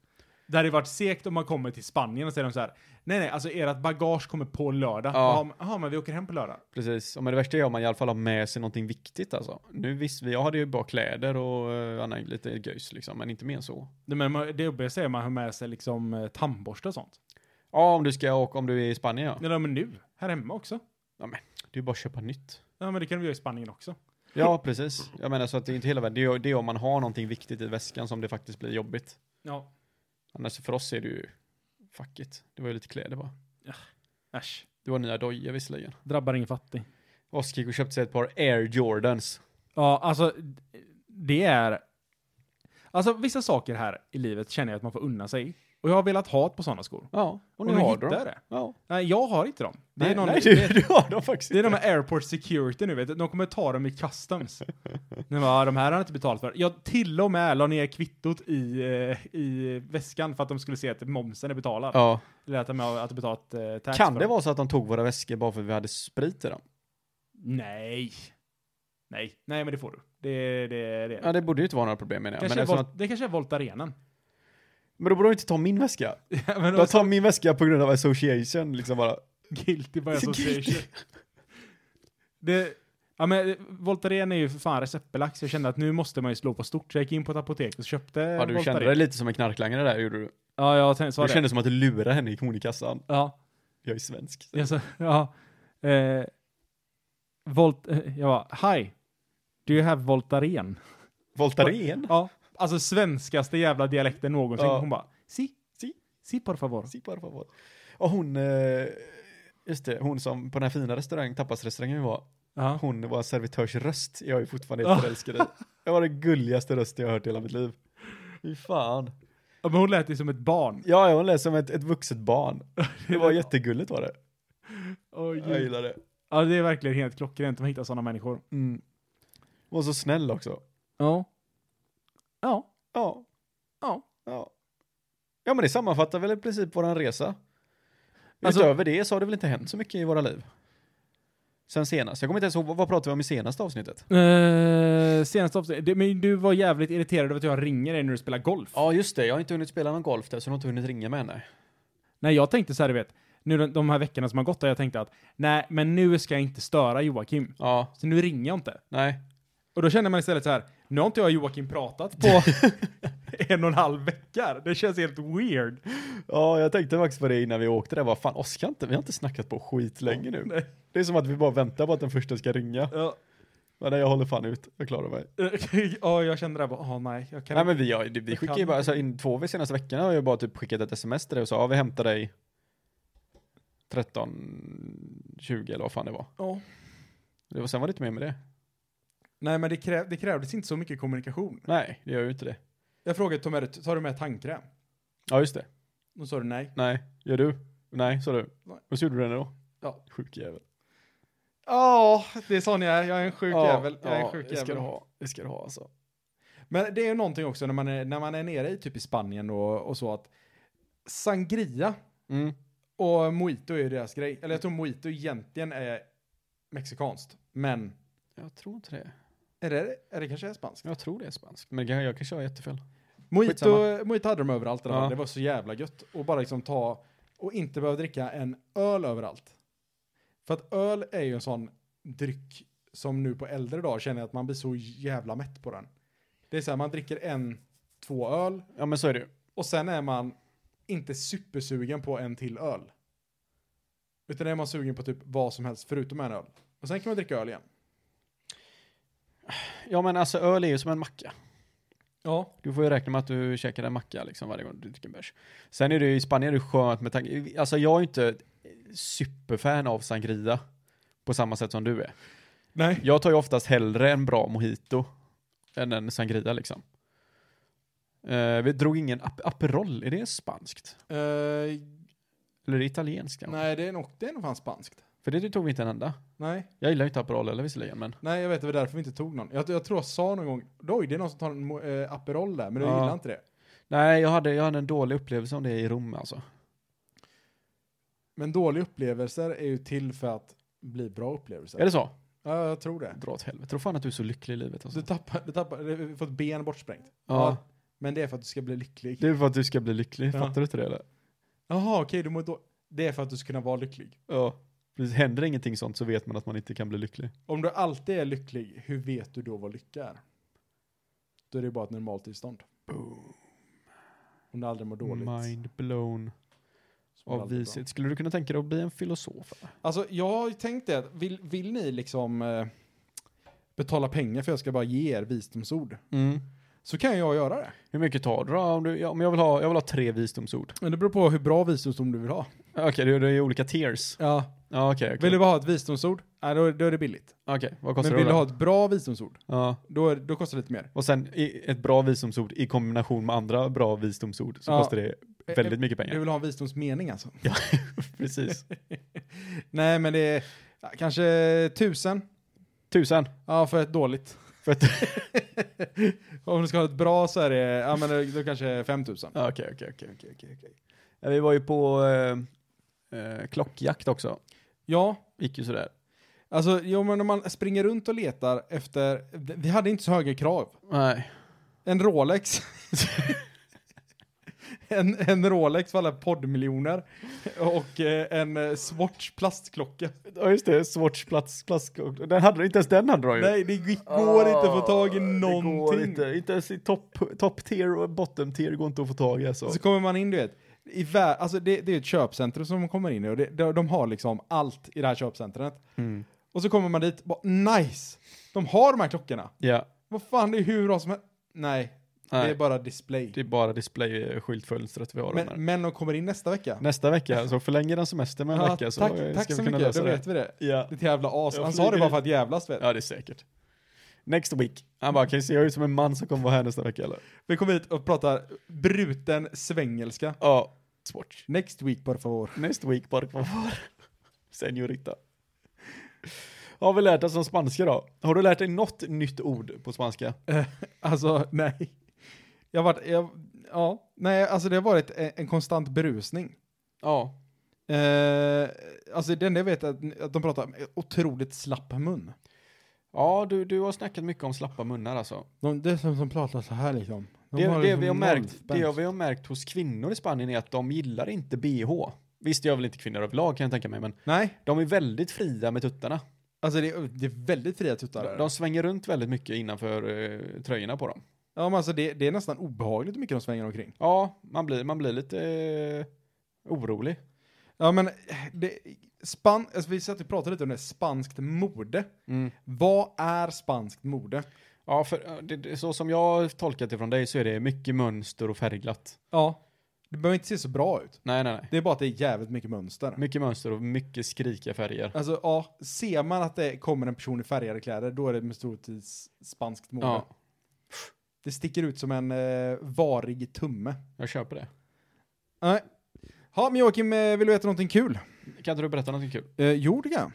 Det hade varit segt om man kommer till Spanien och säger de så här. Nej, nej, alltså ert bagage kommer på lördag. Ja. Jaha, men- Jaha, men vi åker hem på lördag. Precis, och men det värsta är om man i alla fall har med sig någonting viktigt alltså. Nu visst, vi- jag hade ju bara kläder och eh, annan, lite göjs liksom, men inte mer än så. Det, men man- det jobbiga är att man har med sig liksom eh, tandborste och sånt. Ja, om du ska åka, om du är i Spanien ja. Nej, men nu, här hemma också. Det är ju bara att köpa nytt. Ja, men det kan vi göra i Spanien också. Ja, precis. Jag menar så att det är inte hela världen. Det är, det är om man har någonting viktigt i väskan som det faktiskt blir jobbigt. Ja, Annars för oss är det ju, fuck it. Det var ju lite kläder bara. äsch. Det var nya dojor visserligen. Drabbar ingen fattig. Oskar gick och köpte sig ett par Air Jordans. Ja, alltså det är... Alltså vissa saker här i livet känner jag att man får unna sig. Och jag har velat ha ett på sådana skor. Ja, och nu Och nu har du hittar jag dem. det. Ja. Nej, jag har inte dem. Det är, nej, någon, nej, *laughs* det, du, är- du har dem faktiskt *laughs* det är inte. de här airport security nu vet du. De kommer ta dem i customs. *laughs* Nej, bara, de här har jag inte betalt för. Jag till och med la ner kvittot i, eh, i väskan för att de skulle se att momsen är betalad. Ja. Eller att de har att de betalat eh, tax Kan för det dem. vara så att de tog våra väskor bara för att vi hade sprit i dem? Nej. Nej, nej men det får du. Det, det, det. Ja, det borde ju inte vara några problem menar jag. Men, kanske är eftersom volt, att, Det kanske är voltarenen. men då borde de inte ta min väska. *laughs* Ja, men De tar min väska på grund av association, liksom bara. Guilty by *laughs* Guilty. association. det, ja men Voltaren är ju för fan receptbelagt så jag kände att nu måste man ju slå på stort. Så jag gick in på ett apotek och köpte Ja, du kände Voltaren. dig lite som en knarklangare där, gjorde du. Ja, jag tänkte, sa Du det. kände som att du lurade henne i hon i kassan. Ja, Jag är svensk. jag sa, ja. Eh, volt, eh, jag bara, hi. Do you have Voltaren? Voltaren? Ja, alltså svenskaste jävla dialekten någonsin. Ja. Hon bara, si, Si. si por favor. Si, por favor. Och hon, eh, just det, hon som på den här fina restaurangen, tapasrestaurangen vi var, Ja. hon var servitörsröst. Jag är fortfarande Ja. helt förälskad i. Det var den gulligaste rösten jag har hört i hela mitt liv. Fy fan. Ja, Men hon lät ju som ett barn. Ja, ja, hon lät som ett, ett vuxet barn. Det var jättegulligt var det. Åh, gud. Jag gillar det. ja, det är verkligen helt klockrent att hitta sådana människor. Mm. Hon var så snäll också. Ja. Ja. Ja. Ja. Ja, ja men det sammanfattar väl i princip våran resa. Alltså- Utöver det så har det väl inte hänt så mycket i våra liv. Sen senast. Jag kommer inte ens ihåg, vad vad pratade vi om i senaste avsnittet? Uh, senaste avsnittet. Det- Men du var jävligt irriterad över att jag ringer dig när du spelar golf. Ja, just det. Jag har inte hunnit spela någon golf där, så jag har inte hunnit ringa med henne. Nej, jag tänkte så här, du vet. Nu de- de här veckorna som har gått, där jag tänkte att nej, men nu ska jag inte störa Joakim. Ja, Så nu ringer jag inte. nej. Och då känner man istället så här, nu har inte jag och Joakim pratat på *laughs* en och en halv vecka. Det känns helt weird. Ja, jag tänkte faktiskt på det innan vi åkte där. Vad fan, Oskar inte, vi har inte snackat på skit länge nu. Nej. Det är som att vi bara väntar på att den första ska ringa. Ja, Men nej, jag håller fan ut. Jag klarar mig. *laughs* ja, jag kände det här bara, åh nej, jag kan Nej men vi, har, vi skickar ju kan bara, inte. alltså in två vi senaste veckorna har jag bara typ skickat ett sms till dig och sa ja vi hämtar dig 13, 20 eller vad fan det var. Ja. Det var, sen var det inte mer med det. Nej, men det, krä- det krävdes inte så mycket kommunikation. Nej, det gör ju inte det. Jag frågade, tar, med, tar du med tandkräm? Ja just det. Då sa du nej. Nej, gör du? Nej, sa du. Nej. Och så gjorde du det då? Ja. Sjuk jävel. Ja, det är sån jag är. Jag är en sjuk Ja, jävel. Jag är ja, en sjuk det ska jävel. du ha. Det ska du ha alltså. Men det är ju någonting också när man är, när man är nere i typ i Spanien och, och så att sangria Mm. och mojito är ju deras grej. Eller jag tror mojito egentligen är mexikanskt. Men Jag tror inte det. är det, är det kanske är spanskt? Jag tror det är spanskt. Men jag, jag kanske har jättefel. Mojito, Skitsamma. mojito hade de överallt där. Ja. Det var så jävla gött. Och bara liksom ta och inte behöva dricka en öl överallt. För att öl är ju en sån dryck som nu på äldre dagar känner jag att man blir så jävla mätt på den. Det är så här, man dricker en, två öl Ja men så är det ju. och sen är man inte supersugen på en till öl. Utan är man sugen på typ vad som helst förutom en öl. Och sen kan man dricka öl igen. Ja men alltså öl är ju som en macka. Ja. Du får ju räkna med att du käkar en macka liksom varje gång du dricker en bärs. Sen är det ju i Spanien är det skönt med tanke, alltså jag är ju inte superfan av sangria på samma sätt som du är. Nej. Jag tar ju oftast hellre en bra mojito än en sangria liksom. Eh, vi drog ingen ap- Aperol, är det spanskt? Eh, Eller är det italienskt? kanske? nej, det är nog, det är nog fan spanskt. För det tog vi inte en enda. Nej. Jag gillar ju inte Aperol heller visserligen, men Nej, jag vet, det var därför vi inte tog någon. Jag, jag tror jag sa någon gång, oj, det är någon som tar en mo- eh, Aperol där, men du Ja. gillar inte det. Nej, jag hade, jag hade en dålig upplevelse om det i Rom alltså. Men dåliga upplevelser är ju till för att bli bra Är upplevelser. det så? Ja, jag tror det. Dra åt helvete. Tror fan att du är så lycklig i livet alltså. Du tappar, du tappar, du får ett ben bortsprängt. ja. Men det är för att du ska bli lycklig. Det är för att du ska bli lycklig, Ja. fattar du inte det eller? Jaha, okej, du mår då. Det är för att du ska kunna vara lycklig. Ja. Precis. Händer ingenting sånt så vet man att man inte kan bli lycklig. Om du alltid är lycklig, hur vet du då vad lycka är? Då är det ju bara ett normalt tillstånd. Om du aldrig mår dåligt. Mind blown så mår du av aldrig bra. vishet. Skulle du kunna tänka dig att bli en filosof? eller? Alltså jag har ju tänkt det, att vill, vill ni liksom eh, betala pengar för jag ska bara ge er visdomsord? Så kan jag göra det. Hur mycket tar du då? Om, du, ja, om jag, vill ha, jag vill ha tre visdomsord. Men det beror på hur bra visdomsord du vill ha. Okej, det, det är olika tiers. Ja. Ja, okej. okej. Vill du bara ha ett visdomsord? Nej, då, då är det billigt. Okej, vad kostar Men det vill då? du ha ett bra visdomsord? Ja. Då, är, då kostar det lite mer. Och sen i, ett bra visdomsord i kombination med andra bra visdomsord så Ja. kostar det Eh, väldigt mycket Du pengar. vill ha en visdomsmening alltså? Precis. Nej, men det är ja, kanske tusen. *laughs* Tusen. Ja, för ett dåligt. För att, *laughs* Om du ska ha ett bra så är det, ja men då- då kanske 5000. Ja, okej, okej, okej, okej, okej, okej. Ja, Vi var ju på eh, eh, klockjakt också. Ja, Gick ju sådär. alltså jo men om man springer runt och letar efter, vi hade inte så höga krav. Nej. En Rolex. *laughs* en, en Rolex för alla poddmiljoner. Och eh, en eh, Swatch plastklocka. Ja, just det. Swatch plats, plats. Den hade, inte ens den hade de ju. Nej, det gick- går inte att få tag i Ah, Det går någonting. inte. Inte ens i topp top tier och bottom tier går inte att få tag i alltså. Så kommer man in, du vet. I vä- alltså det, det är ett köpcentrum som man kommer in i och det, de, de har liksom allt i det här köpcentret. Mm. Och så kommer man dit, bara nice! De har de här klockorna. Ja. Vad fan, det är hur bra som helst. Nej, det är Nej, bara display. det är bara display-skyltfönstret vi har. de här. Men, men de kommer in nästa vecka. Nästa vecka, så förlänger den semester med en Ja, vecka så tack eh, tack ska så vi kunna mycket, då lösa det. vet vi det. Ja. Ditt jävla as. Jag Han sa det flyger bara ut. för att jävlas vet du. ja, det är säkert. Next week. Han bara, kan ser jag ut som en man som kommer vara här nästa vecka eller? Vi kommer hit och pratar bruten svängelska. Ja, Swatch. Next week por favor. Next week, por favor. Senorita. Har vi lärt oss om spanska då? Har du lärt dig något nytt ord på spanska? Alltså, nej. Jag har varit, jag, ja, nej, alltså det har varit en, en konstant berusning. Ja. Eh, alltså det enda jag vet är att, att de pratar med otroligt slapp mun. Ja, du, du har snackat mycket om slappa munnar alltså. De, det är som, som pratar så här liksom. De Det, har det, liksom vi har noll märkt, spänst. det vi har märkt hos kvinnor i Spanien är att de gillar inte bh. Visst, jag är väl inte kvinnor överlag kan jag tänka mig, men Nej, de är väldigt fria med tuttarna. alltså det, det är väldigt fria tuttar. De, där. de svänger runt väldigt mycket innanför eh, tröjorna på dem. ja, men alltså det, det är nästan obehagligt hur mycket de svänger omkring. Ja, man blir, man blir lite eh, orolig. Ja, men det, span, alltså vi satt och pratade lite om det, spanskt mode. Vad är spanskt mode? Ja, för eh, det, det, så som jag har tolkat det från dig så är det mycket mönster och färgglatt. Ja. Det behöver inte se så bra ut. Nej, nej, nej. Det är bara att det är jävligt mycket mönster. Mycket mönster och mycket skrikiga färger. Alltså, ja, ser man att det kommer en person i färgade kläder, då är det med stor tids spanskt mode. Ja, Det sticker ut som en eh, varig tumme. jag köper det. Nej. Ja, men Joakim, eh, vill du veta någonting kul? Kan inte du berätta någonting kul? Eh, jo, det kan jag.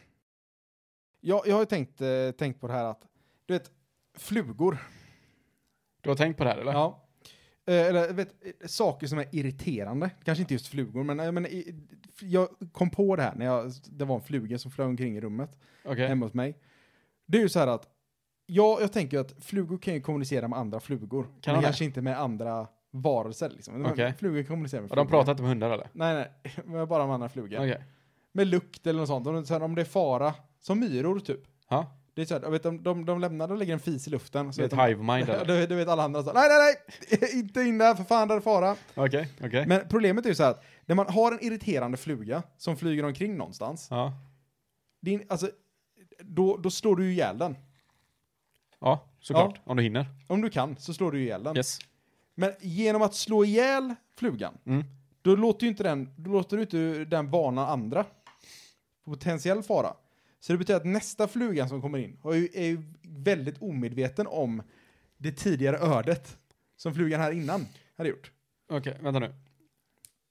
jag. Jag har ju tänkt, eh, tänkt på det här att, du vet, flugor. Du har tänkt på det här eller? Ja. Eh, Eller vet, eh, saker som är irriterande. Kanske inte just flugor, men, eh, men i- jag kom på det här när jag, det var en fluga som flög omkring i rummet Okej. hemma hos mig. Det är ju så här att, ja, jag tänker att flugor kan ju kommunicera med andra flugor. Kan men de kanske inte med andra varelser liksom. Men Okej. Flugor kommunicerar med Ja, de flugor. pratar inte med hundar eller? Nej, nej. *laughs* Men bara med andra flugor. Okej. Med lukt eller något sånt. Om, det- så här, om det är fara, som myror typ. Ja. Det är så här, jag vet, de, de, de lämnar, de lägger en fis i luften. Så Det är vet ett hive *laughs* mind de, eller? du, du vet alla andra så här, nej, nej, nej, inte in där, för fan, där är fara. Okej, okej. Men problemet är ju så här att när man har en irriterande fluga som flyger omkring någonstans, Ja. din, alltså, då, då slår du ju ihjäl den. Ja, såklart. Om du hinner. Om du kan så slår du ihjäl den. Yes. Men genom att slå ihjäl flugan, Mm. då låter ju inte den, då låter du inte den varna andra. för Potentiell fara. Så det betyder att nästa flugan som kommer in har ju- är ju väldigt omedveten om det tidigare ödet som flugan här innan hade gjort. Okej, vänta nu.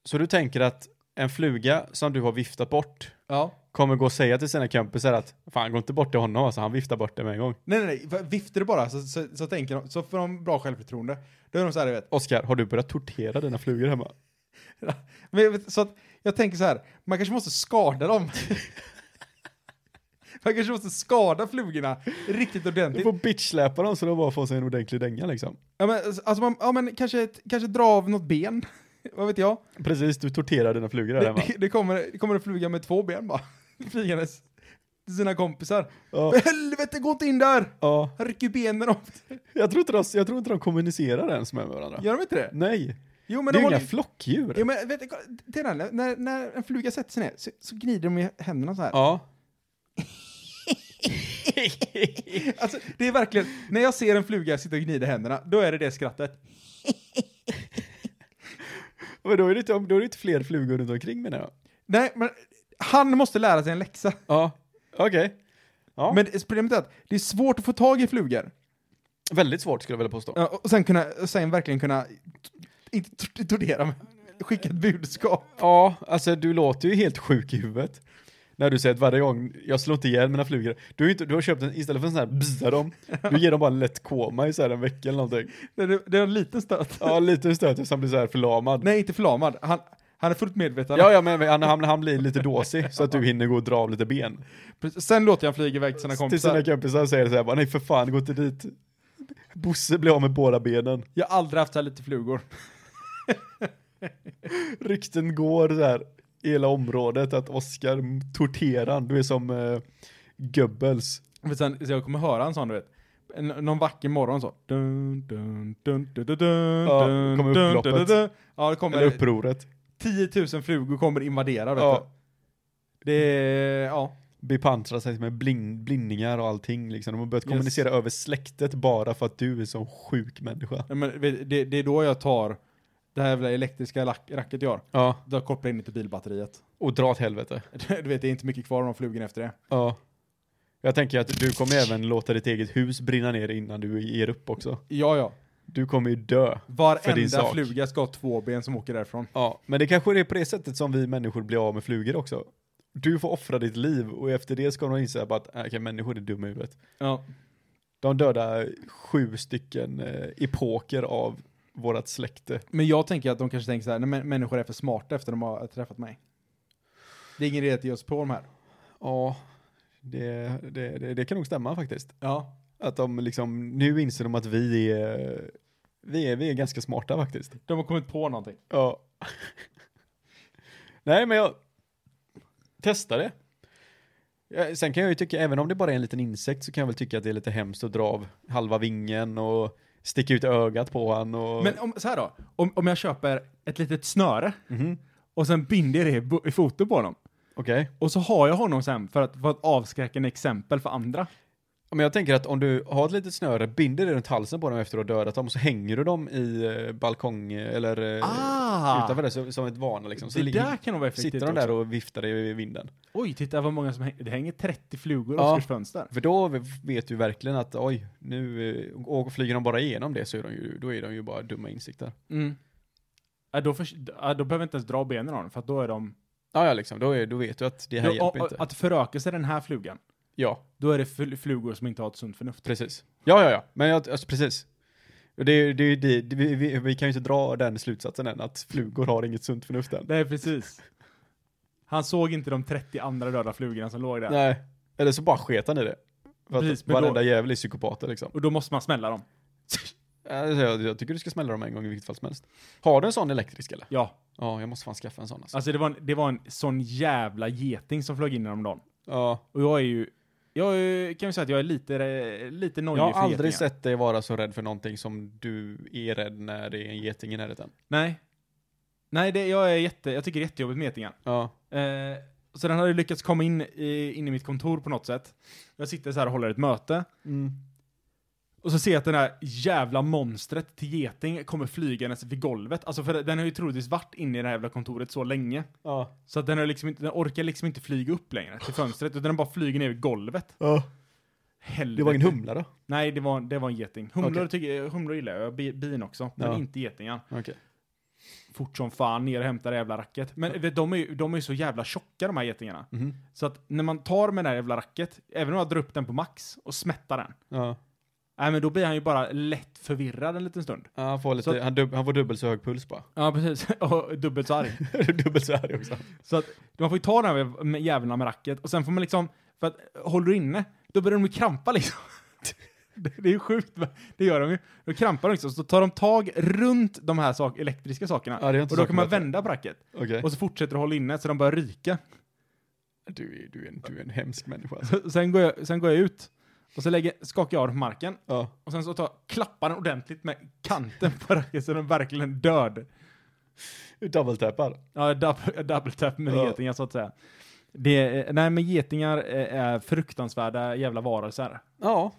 Så du tänker att en fluga som du har viftat bort Ja. kommer gå och säga till sina kompisar att fan gå inte bort till honom alltså, han viftar bort det med en gång. Nej, nej, nej. Viftar du bara så, så, så tänker de, så får de bra självförtroende. Då är de så här, du vet. *laughs* Oskar, har du börjat tortera dina flugor hemma? Men jag vet- så att jag tänker så här, man kanske måste skada dem. *laughs* man kanske måste skada flugorna riktigt Du ordentligt. får bitchsläpa dem så de bara får sig en ordentlig dänga liksom. Ja men, alltså, man, ja, men kanske, kanske dra av något ben. *laughs* Vad vet jag? Precis, du torterar dina flugor där Det, hemma. det, det, kommer, det kommer en fluga med två ben bara. *laughs* Flygandes till sina kompisar. Ja. För *laughs* helvete, gå inte in där! Ja, Han rycker ju benen av. jag tror, inte de, jag tror inte de kommunicerar ens med varandra. Gör de inte det? Nej, Jo men det de är ju håller inga ju... flockdjur. Jo men vet du, kolla, det är när, när, när en fluga sätter sig ner så, så gnider de ju händerna så här. *laughs* Ja. Alltså, det är verkligen, när jag ser en fluga sitta och gnida händerna, då är det det skrattet. Men då är, det inte, då är det inte fler flugor runt omkring menar jag. Nej, men han måste lära sig en läxa. Ja, okej. Ja. Men det- problemet är att det är svårt att få tag i flugor. Väldigt svårt skulle jag vilja påstå. Ja, Och sen, kunna, och sen verkligen kunna, inte tor- tortera men skicka ett budskap. Ja, alltså du låter ju helt sjuk i huvudet. När du säger att varje gång jag slår inte ihjäl mina flugor. Du, har ju inte, du har köpt en, istället för en sån här *laughs* bzzar dem, du ger dem bara en lätt koma i så här en vecka eller någonting. Det, det, det är en liten stöt. Ja, lite stöt tills han blir så här förlamad. Nej, inte förlamad. Han, han är fullt medveten. Ja, ja, men han, han, han blir lite dåsig så att du hinner gå och dra av lite ben. Precis. Sen låter jag flyga iväg till sina Till kompisar. sina kompisar och säger så här bara, nej för fan, gå inte dit. Bosse blir av med båda benen. Jag har aldrig haft så här lite flugor. Rykten går så här i hela området att Oscar m- torterar han. Du är som eh, Goebbels. Men sen, så jag kommer höra en sån, du vet. En, någon vacker morgon så. Dun, dun, dun, dun, dun, dun, Ja, dun, kommer dun, upploppet. dun, dun. Ja, det Eller kommer. upproret. 10 000 flugor kommer invadera, vet Ja. du. Det är, ja. bepansra sig med blind, blindningar och allting liksom. De har börjat Yes. kommunicera över släktet bara för att du är sån sjuk människa. Ja, Men vet- det, det är då jag tar det här jävla elektriska lack- racket jag har. Ja. Då kopplar jag in det till bilbatteriet. *laughs* Och dra åt helvete. Du vet, det är inte mycket kvar av de flugorna efter det. Ja. Jag tänker att du kommer även låta ditt eget hus brinna ner innan du ger upp också. Ja, ja. Du kommer ju dö. För din Varenda sak. fluga ska ha två ben som åker därifrån. Ja, men det kanske är på det sättet som vi människor blir av med flugor också. Du får offra ditt liv och efter det ska de inse bara att äh, okej, människor är dumma i huvudet. Ja. De dödar sju stycken eh, epoker av vårat släkte. Men jag tänker att de kanske tänker så här, nej, men människor är för smarta efter de har träffat mig. Det är ingen idé att ge oss på de här. Ja, det, det, det, det kan nog stämma faktiskt. Ja. Att de liksom, nu inser de att vi är, vi är, vi är ganska smarta faktiskt. De har kommit på någonting. Ja. *laughs* Nej, men jag testar det. Ja, Sen kan jag ju tycka, även om det bara är en liten insekt så kan jag väl tycka att det är lite hemskt att dra av halva vingen och sticka ut ögat på han och... Men om, så här då, om, om jag köper ett litet snöre Mhm, och sen binder det i, bo- i foten på honom. Okej. Och så har jag honom sen för att, för att avskräcka en exempel för andra. Men jag tänker att om du har ett litet snöre, binder det runt halsen på dem efter att ha dödat dem och så hänger du dem i eh, balkong eller eh, Ah! utanför det så, som ett vana liksom. Så det ligger- där kan nog vara effektivt sitter de där också. och viftar i vinden. Oj, titta vad många som hänger. Det hänger 30 flugor i Ja. Oskars fönster. För då vet vi verkligen att oj, nu eh, och flyger de bara igenom det så är de ju, då är de ju bara dumma insikter. Mm. Ja, då, förs- ja, då behöver jag inte ens dra benen av den, för att då är de... Ja, ja liksom, då, är, då vet du att det här Ja, hjälper och- inte. och att föröka sig den här flugan, ja, då är det fl- flugor som inte har ett sunt förnuft. precis. Ja, ja, ja, men jag, alltså, precis. Och Det, är- det, är- det, det, vi, vi, vi kan ju inte dra den slutsatsen än, att flugor har inget sunt förnuft än. Nej, precis. Han såg inte de 30 andra döda flugorna som låg där. Nej. Eller så bara sket han i det. För Precis, att men då- varenda jävel är psykopater liksom. Och då måste man smälla dem. Äh, Alltså, jag, jag tycker du ska smälla dem en gång i vilket fall som helst. Har du en sån elektrisk eller? Ja, Ja, jag måste fan skaffa en sån alltså. alltså det var, en, det var en sån jävla geting som flög in häromdagen. Ja, Och jag är ju, jag är, kan ju säga att jag är lite, eh, lite nojig jag har för aldrig getingar. sett dig vara så rädd för någonting som du är rädd när det är en geting i närheten. Nej. Nej, det, jag, är jätte, jag tycker det är jättejobbigt med getingar. Ja. Eh, så den hade ju lyckats komma in i, in i mitt kontor på något sätt. Jag sitter så här och håller ett möte. Och så ser jag att den här jävla monstret till geting kommer flygandes vid golvet. Alltså för den har ju troligtvis varit inne i det här jävla kontoret så länge. Ja. Så att den, har liksom inte, den orkar liksom inte flyga upp längre till fönstret, utan den bara flyger ner vid golvet. Helvete. Det var ingen humla då? Nej, det var, det var en geting. Humlor, Okej. tycker, humlor gillar jag, bi- bin också. Men Ja. inte getingar. Okej. Fort som fan ner och hämtar det jävla racket. Men vet, de är ju de är ju så jävla tjocka de här getingarna. Mhm. Så att när man tar med det här jävla racket, även om jag drar upp den på max och smättar den. Ja. Nej men då blir han ju bara lätt förvirrad en liten stund. Ja, han, får Så lite, han, dub, han får dubbelt så hög puls bara. *laughs* Ja precis, *laughs* och dubbelt så arg. dubbelt så arg också. Så att man får ju ta den här med jävlarna med racket och sen får man liksom, för att håller du inne, då börjar de ju krampa liksom. *laughs* Det det är ju sjukt, men det gör de ju. De krampar liksom, så tar de tag runt de här sak, elektriska sakerna. Ja, det är inte och då så kan man lätt. vända på racket. Okej. Och så fortsätter de hålla inne så de börjar ryka. *laughs* Du, är- du, är en- du är en hemsk människa alltså. Så, sen, går jag, sen går jag ut och så lägger, skakar jag av dem på marken Ja. och sen så tar, klappar den ordentligt med kanten på racket så den verkligen död. Double-tappar. Ja, jag dub- jag double *laughs* tap med Ja. getingar så att säga. Det, eh, nej men getingar eh, är fruktansvärda jävla varelser. Ja.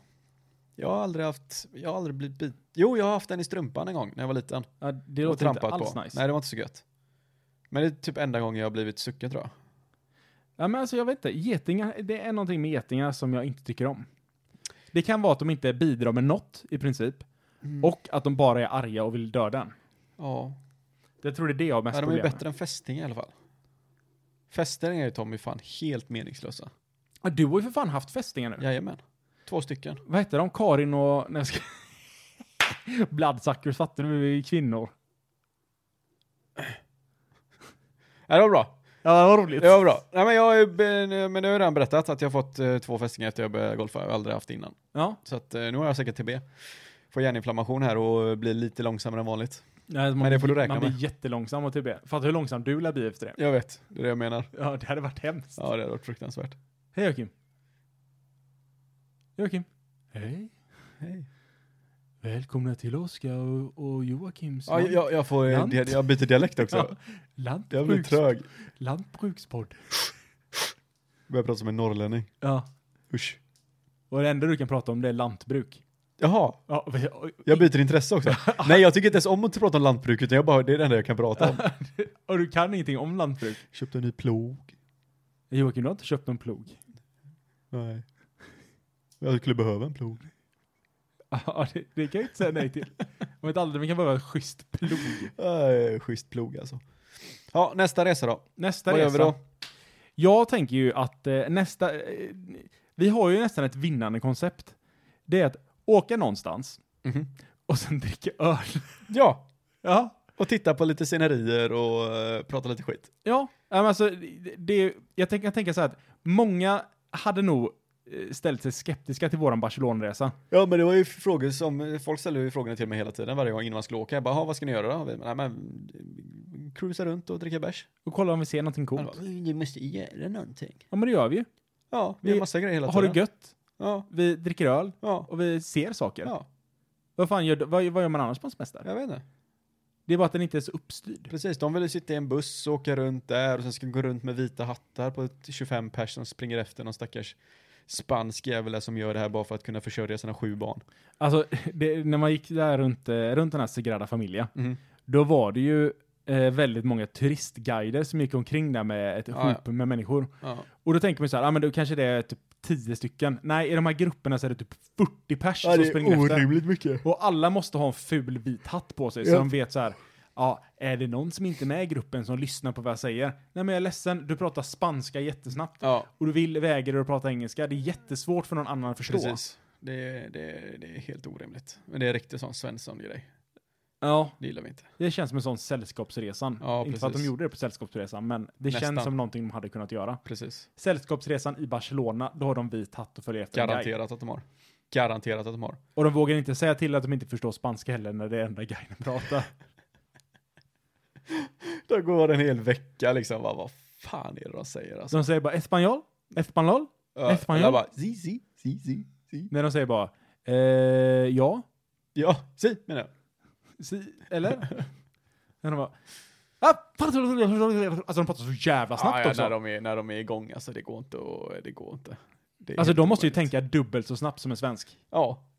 Jag har aldrig haft, jag har aldrig blivit bit. Jo, jag har haft en i strumpan en gång när jag var liten. Ja, det och låter inte trampat alls på. nice. Nej, det var inte så gött. Men det är typ enda gången jag har blivit sucken tror jag. Ja, men alltså jag vet inte, getingar, det är någonting med getingar som jag inte tycker om. Det kan vara att de inte bidrar med något i princip. Mm. Och att de bara är arga och vill döda en. Ja. Jag tror det är det jag har mest ja de är ju problem med. bättre än fästingar i alla fall. Fästingar är Tommy fan helt meningslösa. Ja, du har ju för fan haft fästingar nu. Jajamän. Två stycken. Vad heter de? Karin och... Nej, jag ska... *laughs* Bloodsuckers, fattar du? Vi är kvinnor. Ja, det var bra. Ja, det var roligt. Det var bra. Nej, men jag har ju, be- men jag har ju redan berättat att jag har fått eh, två fästingar efter jag började golfa. Jag har aldrig haft innan. Ja, Så att eh, nu har jag säkert TB. Får hjärninflammation här och eh, blir lite långsammare än vanligt. Nej, man, Men det får du blir- räkna man blir med. jättelångsam och TB. Fattar hur långsam du lär bli efter det. Jag vet, det är det jag menar. Ja, det hade varit hemskt. Ja, det har varit fruktansvärt. Hej Joakim. Joakim. Hej. Hej. Välkomna till Oskar och, och Joakims Ja, jag, jag, får, Lant. jag, jag byter dialekt också. Jag blir lantbruks, trög. lantbrukspodd. Börjar prata som en norrlänning. Ja, Usch. och det enda du kan prata om det är lantbruk. Jaha, Ja, *laughs* och- och- jag byter intresse *laughs* också. Nej, jag tycker inte ens om att prata om lantbruk, utan jag bara, det är det enda jag kan prata om. och du kan ingenting om lantbruk. Köpte en ny plog. Joakim, du har inte köpt någon plog? Nej. Jag skulle behöva en plog. Ja, det, det kan jag inte säga nej *laughs* till. Om inte aldrig, vi kan behöva en schysst plog. Äh, schysst plog alltså. Ja, nästa resa då. Nästa Vad gör vi resa. då? Jag tänker ju att eh, nästa... Eh, vi har ju nästan ett vinnande koncept. Det är att åka någonstans Mhm. och sen dricka öl. *laughs* Ja, ja. och titta på lite scenerier och eh, prata lite skit. Ja, ja, men alltså, det- det, jag tänker tänka så här att många hade nog eh, ställt sig skeptiska till våran Barcelonaresa. Ja, men det var ju frågor som, folk ställer ju frågorna till mig hela tiden varje gång innan man skulle åka. Jag bara, "Ha, vad ska ni göra då? Vi, Nej, men, cruisa runt och dricka bärs. Och kolla om vi ser någonting Han coolt. bara, "Men Du måste göra någonting. Ja, men det gör vi ju. Ja, vi gör Vi- massa grejer hela Har tiden. det gött. Ja, Vi dricker öl ja, och vi ser saker. ja. Vad fan gör, vad, vad gör man annars på en semester? Jag vet inte. Det är bara att den inte är så uppstyrd. Precis, de ville sitta i en buss och åka runt där och sen ska gå runt med vita hattar på ett 25 pers som springer efter någon stackars spansk jävel där som gör det här bara för att kunna försörja sina sju barn. Alltså, *laughs* det, när man gick där runt, eh, runt den här Sagrada Familia, Mm. då var det ju eh, väldigt många turistguider som gick omkring där med ett Ja, ja. hop med människor. Ja. Och då tänker man så här, ah, men då kanske det är typ 10 stycken. Nej, i de här grupperna så är det typ 40 pers som springer efter. mycket. Och alla måste ha en ful vit hatt på sig så Ja. de vet så här, ja, är det någon som inte är med i gruppen som lyssnar på vad jag säger? Nej men jag är ledsen, du pratar spanska jättesnabbt. Ja, Och du vill, vägrar att prata engelska. Det är jättesvårt för någon annan att förstå. precis. Det, det, det är helt orimligt. Men det är riktigt sån Svensson-grej. Ja, Det gillar vi inte. det känns som en sån sällskapsresan. Ja, inte för att de precis. gjorde det på sällskapsresan, men det Nästan. känns som någonting de hade kunnat göra. Precis. Sällskapsresan i Barcelona, då har de vit hatt och följer efter en guide. Garanterat att de har. Garanterat att de har. Och de vågar inte säga till att de inte förstår spanska heller när det är enda guiden *laughs* pratar. Det går en hel vecka liksom. Bara, vad fan är det de säger alltså? Så de säger bara espanol, espanol. Ja, Espanol? jag bara, si, si, si, si, si. När de säger bara eh, ja, Ja, si menar jag. si, *laughs* eller? när de bara "Ah, Alltså de pratar så jävla snabbt Ja, ja, också. När de, är, när de är igång alltså, det går inte och det går inte. Det är Alltså helt de måste ju omöjligt. tänka dubbelt så snabbt som en svensk. Ja.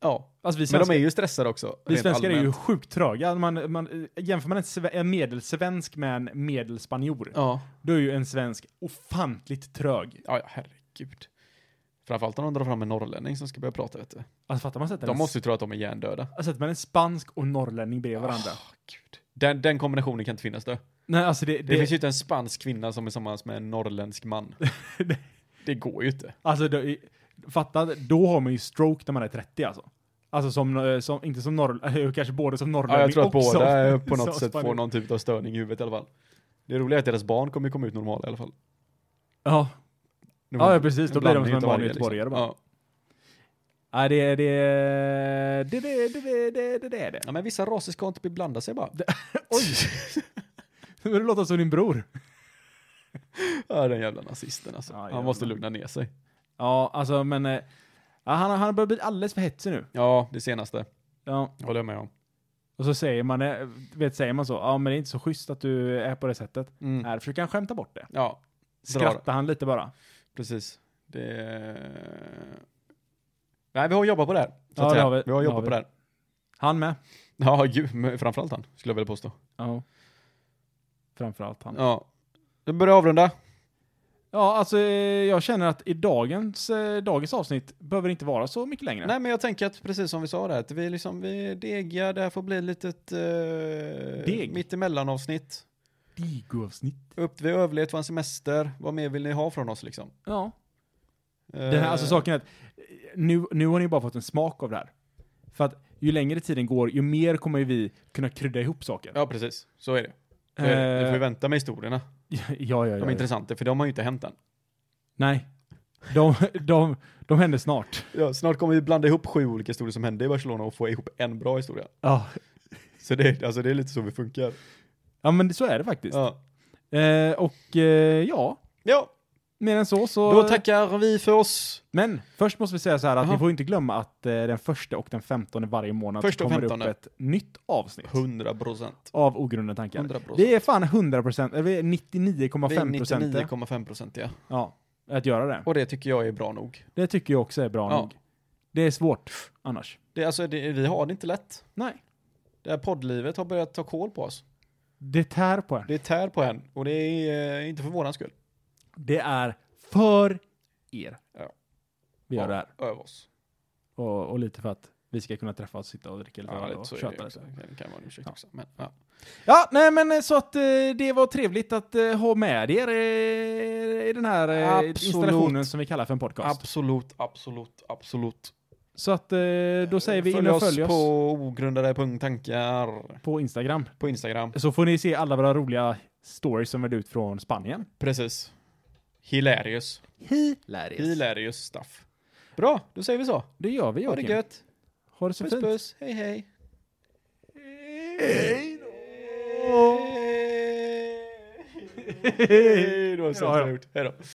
Ja. Alltså vi Men svenskar, de är ju stressade också. vi rent svenskar är ju allmänt. sjukt tröga. Man, man, jämför man en, sve- en medelsvensk med en medelspanjor, Ja. då är ju en svensk ofantligt trög. Ja, ja, herregud. Framförallt om de drar fram en norrlänning som ska börja prata, vet du. Alltså fattar man sätter De en, måste ju tro att de är hjärndöda. alltså, sätter man en spansk och norrlänning bredvid varandra. Åh, gud. Den, den kombinationen kan inte finnas då. Det, Nej, alltså det, det, finns ju inte en spansk kvinna som är tillsammans med en *laughs* norrländsk man. Nej. det går ju inte. Alltså, då, fatta, då har man ju stroke när man är 30 alltså. Alltså som, eh, som inte som norr, eh, kanske både som norrlänning Ja, jag tror att och som, båda eh, *laughs* på något som sätt får spanjor. någon typ av störning i huvudet i alla fall. Det roliga är att deras barn kommer ju komma ut normala i alla fall. Ja, Nu ja, har- ja precis. Då blir de blandning som en utav varje, vanlig göteborgare bara. Liksom. Ja. Nej, det är det. Det det det det det det är det. ja, men vissa raser ska inte blanda sig bara. Oj! Men Du låter som din bror. *laughs* Ja, den jävla nazisten alltså. Ja, jävlar. Han måste lugna ner sig. Ja, alltså men... eh, Ja, han, han börjar bli alldeles för hetsig nu. Ja, det senaste. Ja. Håller jag med om. Och så säger man, eh, vet, säger man så, ja men det är inte så schysst att du är på det sättet. Mm. Här försöker han skämta bort det. Ja, Skrattar han lite bara. precis. Det... Nej, vi har jobbat på det här. Så Ja, att det säga. har vi. vi har Det jobbat har vi. på det här. Han med. Ja, ju, men framförallt han, skulle jag vilja påstå. Ja. Framförallt han. Ja, Ja. Vi börjar avrunda. alltså eh, jag känner att i dagens, eh, dagens avsnitt behöver det inte vara så mycket längre. Nej, men jag tänker att precis som vi sa där, att vi liksom, vi degar, det här får bli ett litet eh, Deg. mittemellanavsnitt. Digo-avsnitt. Upp, vi har överlevt vår semester, vad mer vill ni ha från oss liksom? Ja. Den här, alltså saken är att eh, nu, nu har ni bara fått en smak av det här. För att ju längre tiden går, ju mer kommer ju vi kunna krydda ihop saker. Ja, precis. Så är det. Det är det. Ni får ju vänta med historierna. ja, *laughs* ja, ja, De är Eh, ja. intressanta, för de har ju inte hänt än. Nej. De, de, de händer snart. Ja, snart kommer vi blanda ihop sju olika historier som hände i Barcelona och få ihop en bra historia. Ja. Så det, alltså det är lite så vi funkar. ja, men så är det faktiskt. Ja. Eh, och eh, ja, ja, mer än så så... då tackar vi för oss. Men först måste vi säga så här att Jaha. ni får inte glömma att eh, den första och den femtonde varje månad Första och kommer upp femtonde. ett nytt avsnitt 100 procent. av ogrundade tankar. 100 procent. Vi är fan 100%, eller vi är 99,5% procent 99,5 procent, ja. ja, att göra det. Och det tycker jag är bra nog. Det tycker jag också är bra Ja. nog. Det är svårt annars. Det, alltså, det, vi har det inte lätt. Nej. Det här poddlivet har börjat ta koll på oss. Det tär på en. Det tär på en och det är eh, inte för våran skull. Det är för er. Ja. Vi gör det här. Över oss. Och, och lite för att vi ska kunna träffas och sitta och dricka lite öl Ja, och så är köta det, lite. också. det kan vara en ursäkt Ja. också. Men, ja. Ja, nej men eh, så att eh, det var trevligt att eh, ha med er eh, i den här eh, Absolut. installationen som vi kallar för en podcast. Absolut, absolut, absolut. så att eh, då säger vi in följ och oss följ oss på... på ogrundade.tankar på Instagram. på Instagram. Så får ni se alla våra roliga stories som är ut från Spanien. Precis. Hilarious. Hilarious. Hilarious stuff. Bra, då säger vi så. Det gör vi Ha det Joakim. gött. Ha det så Puss fint. puss. Hej hej. Hej då. Hej då. Hej då.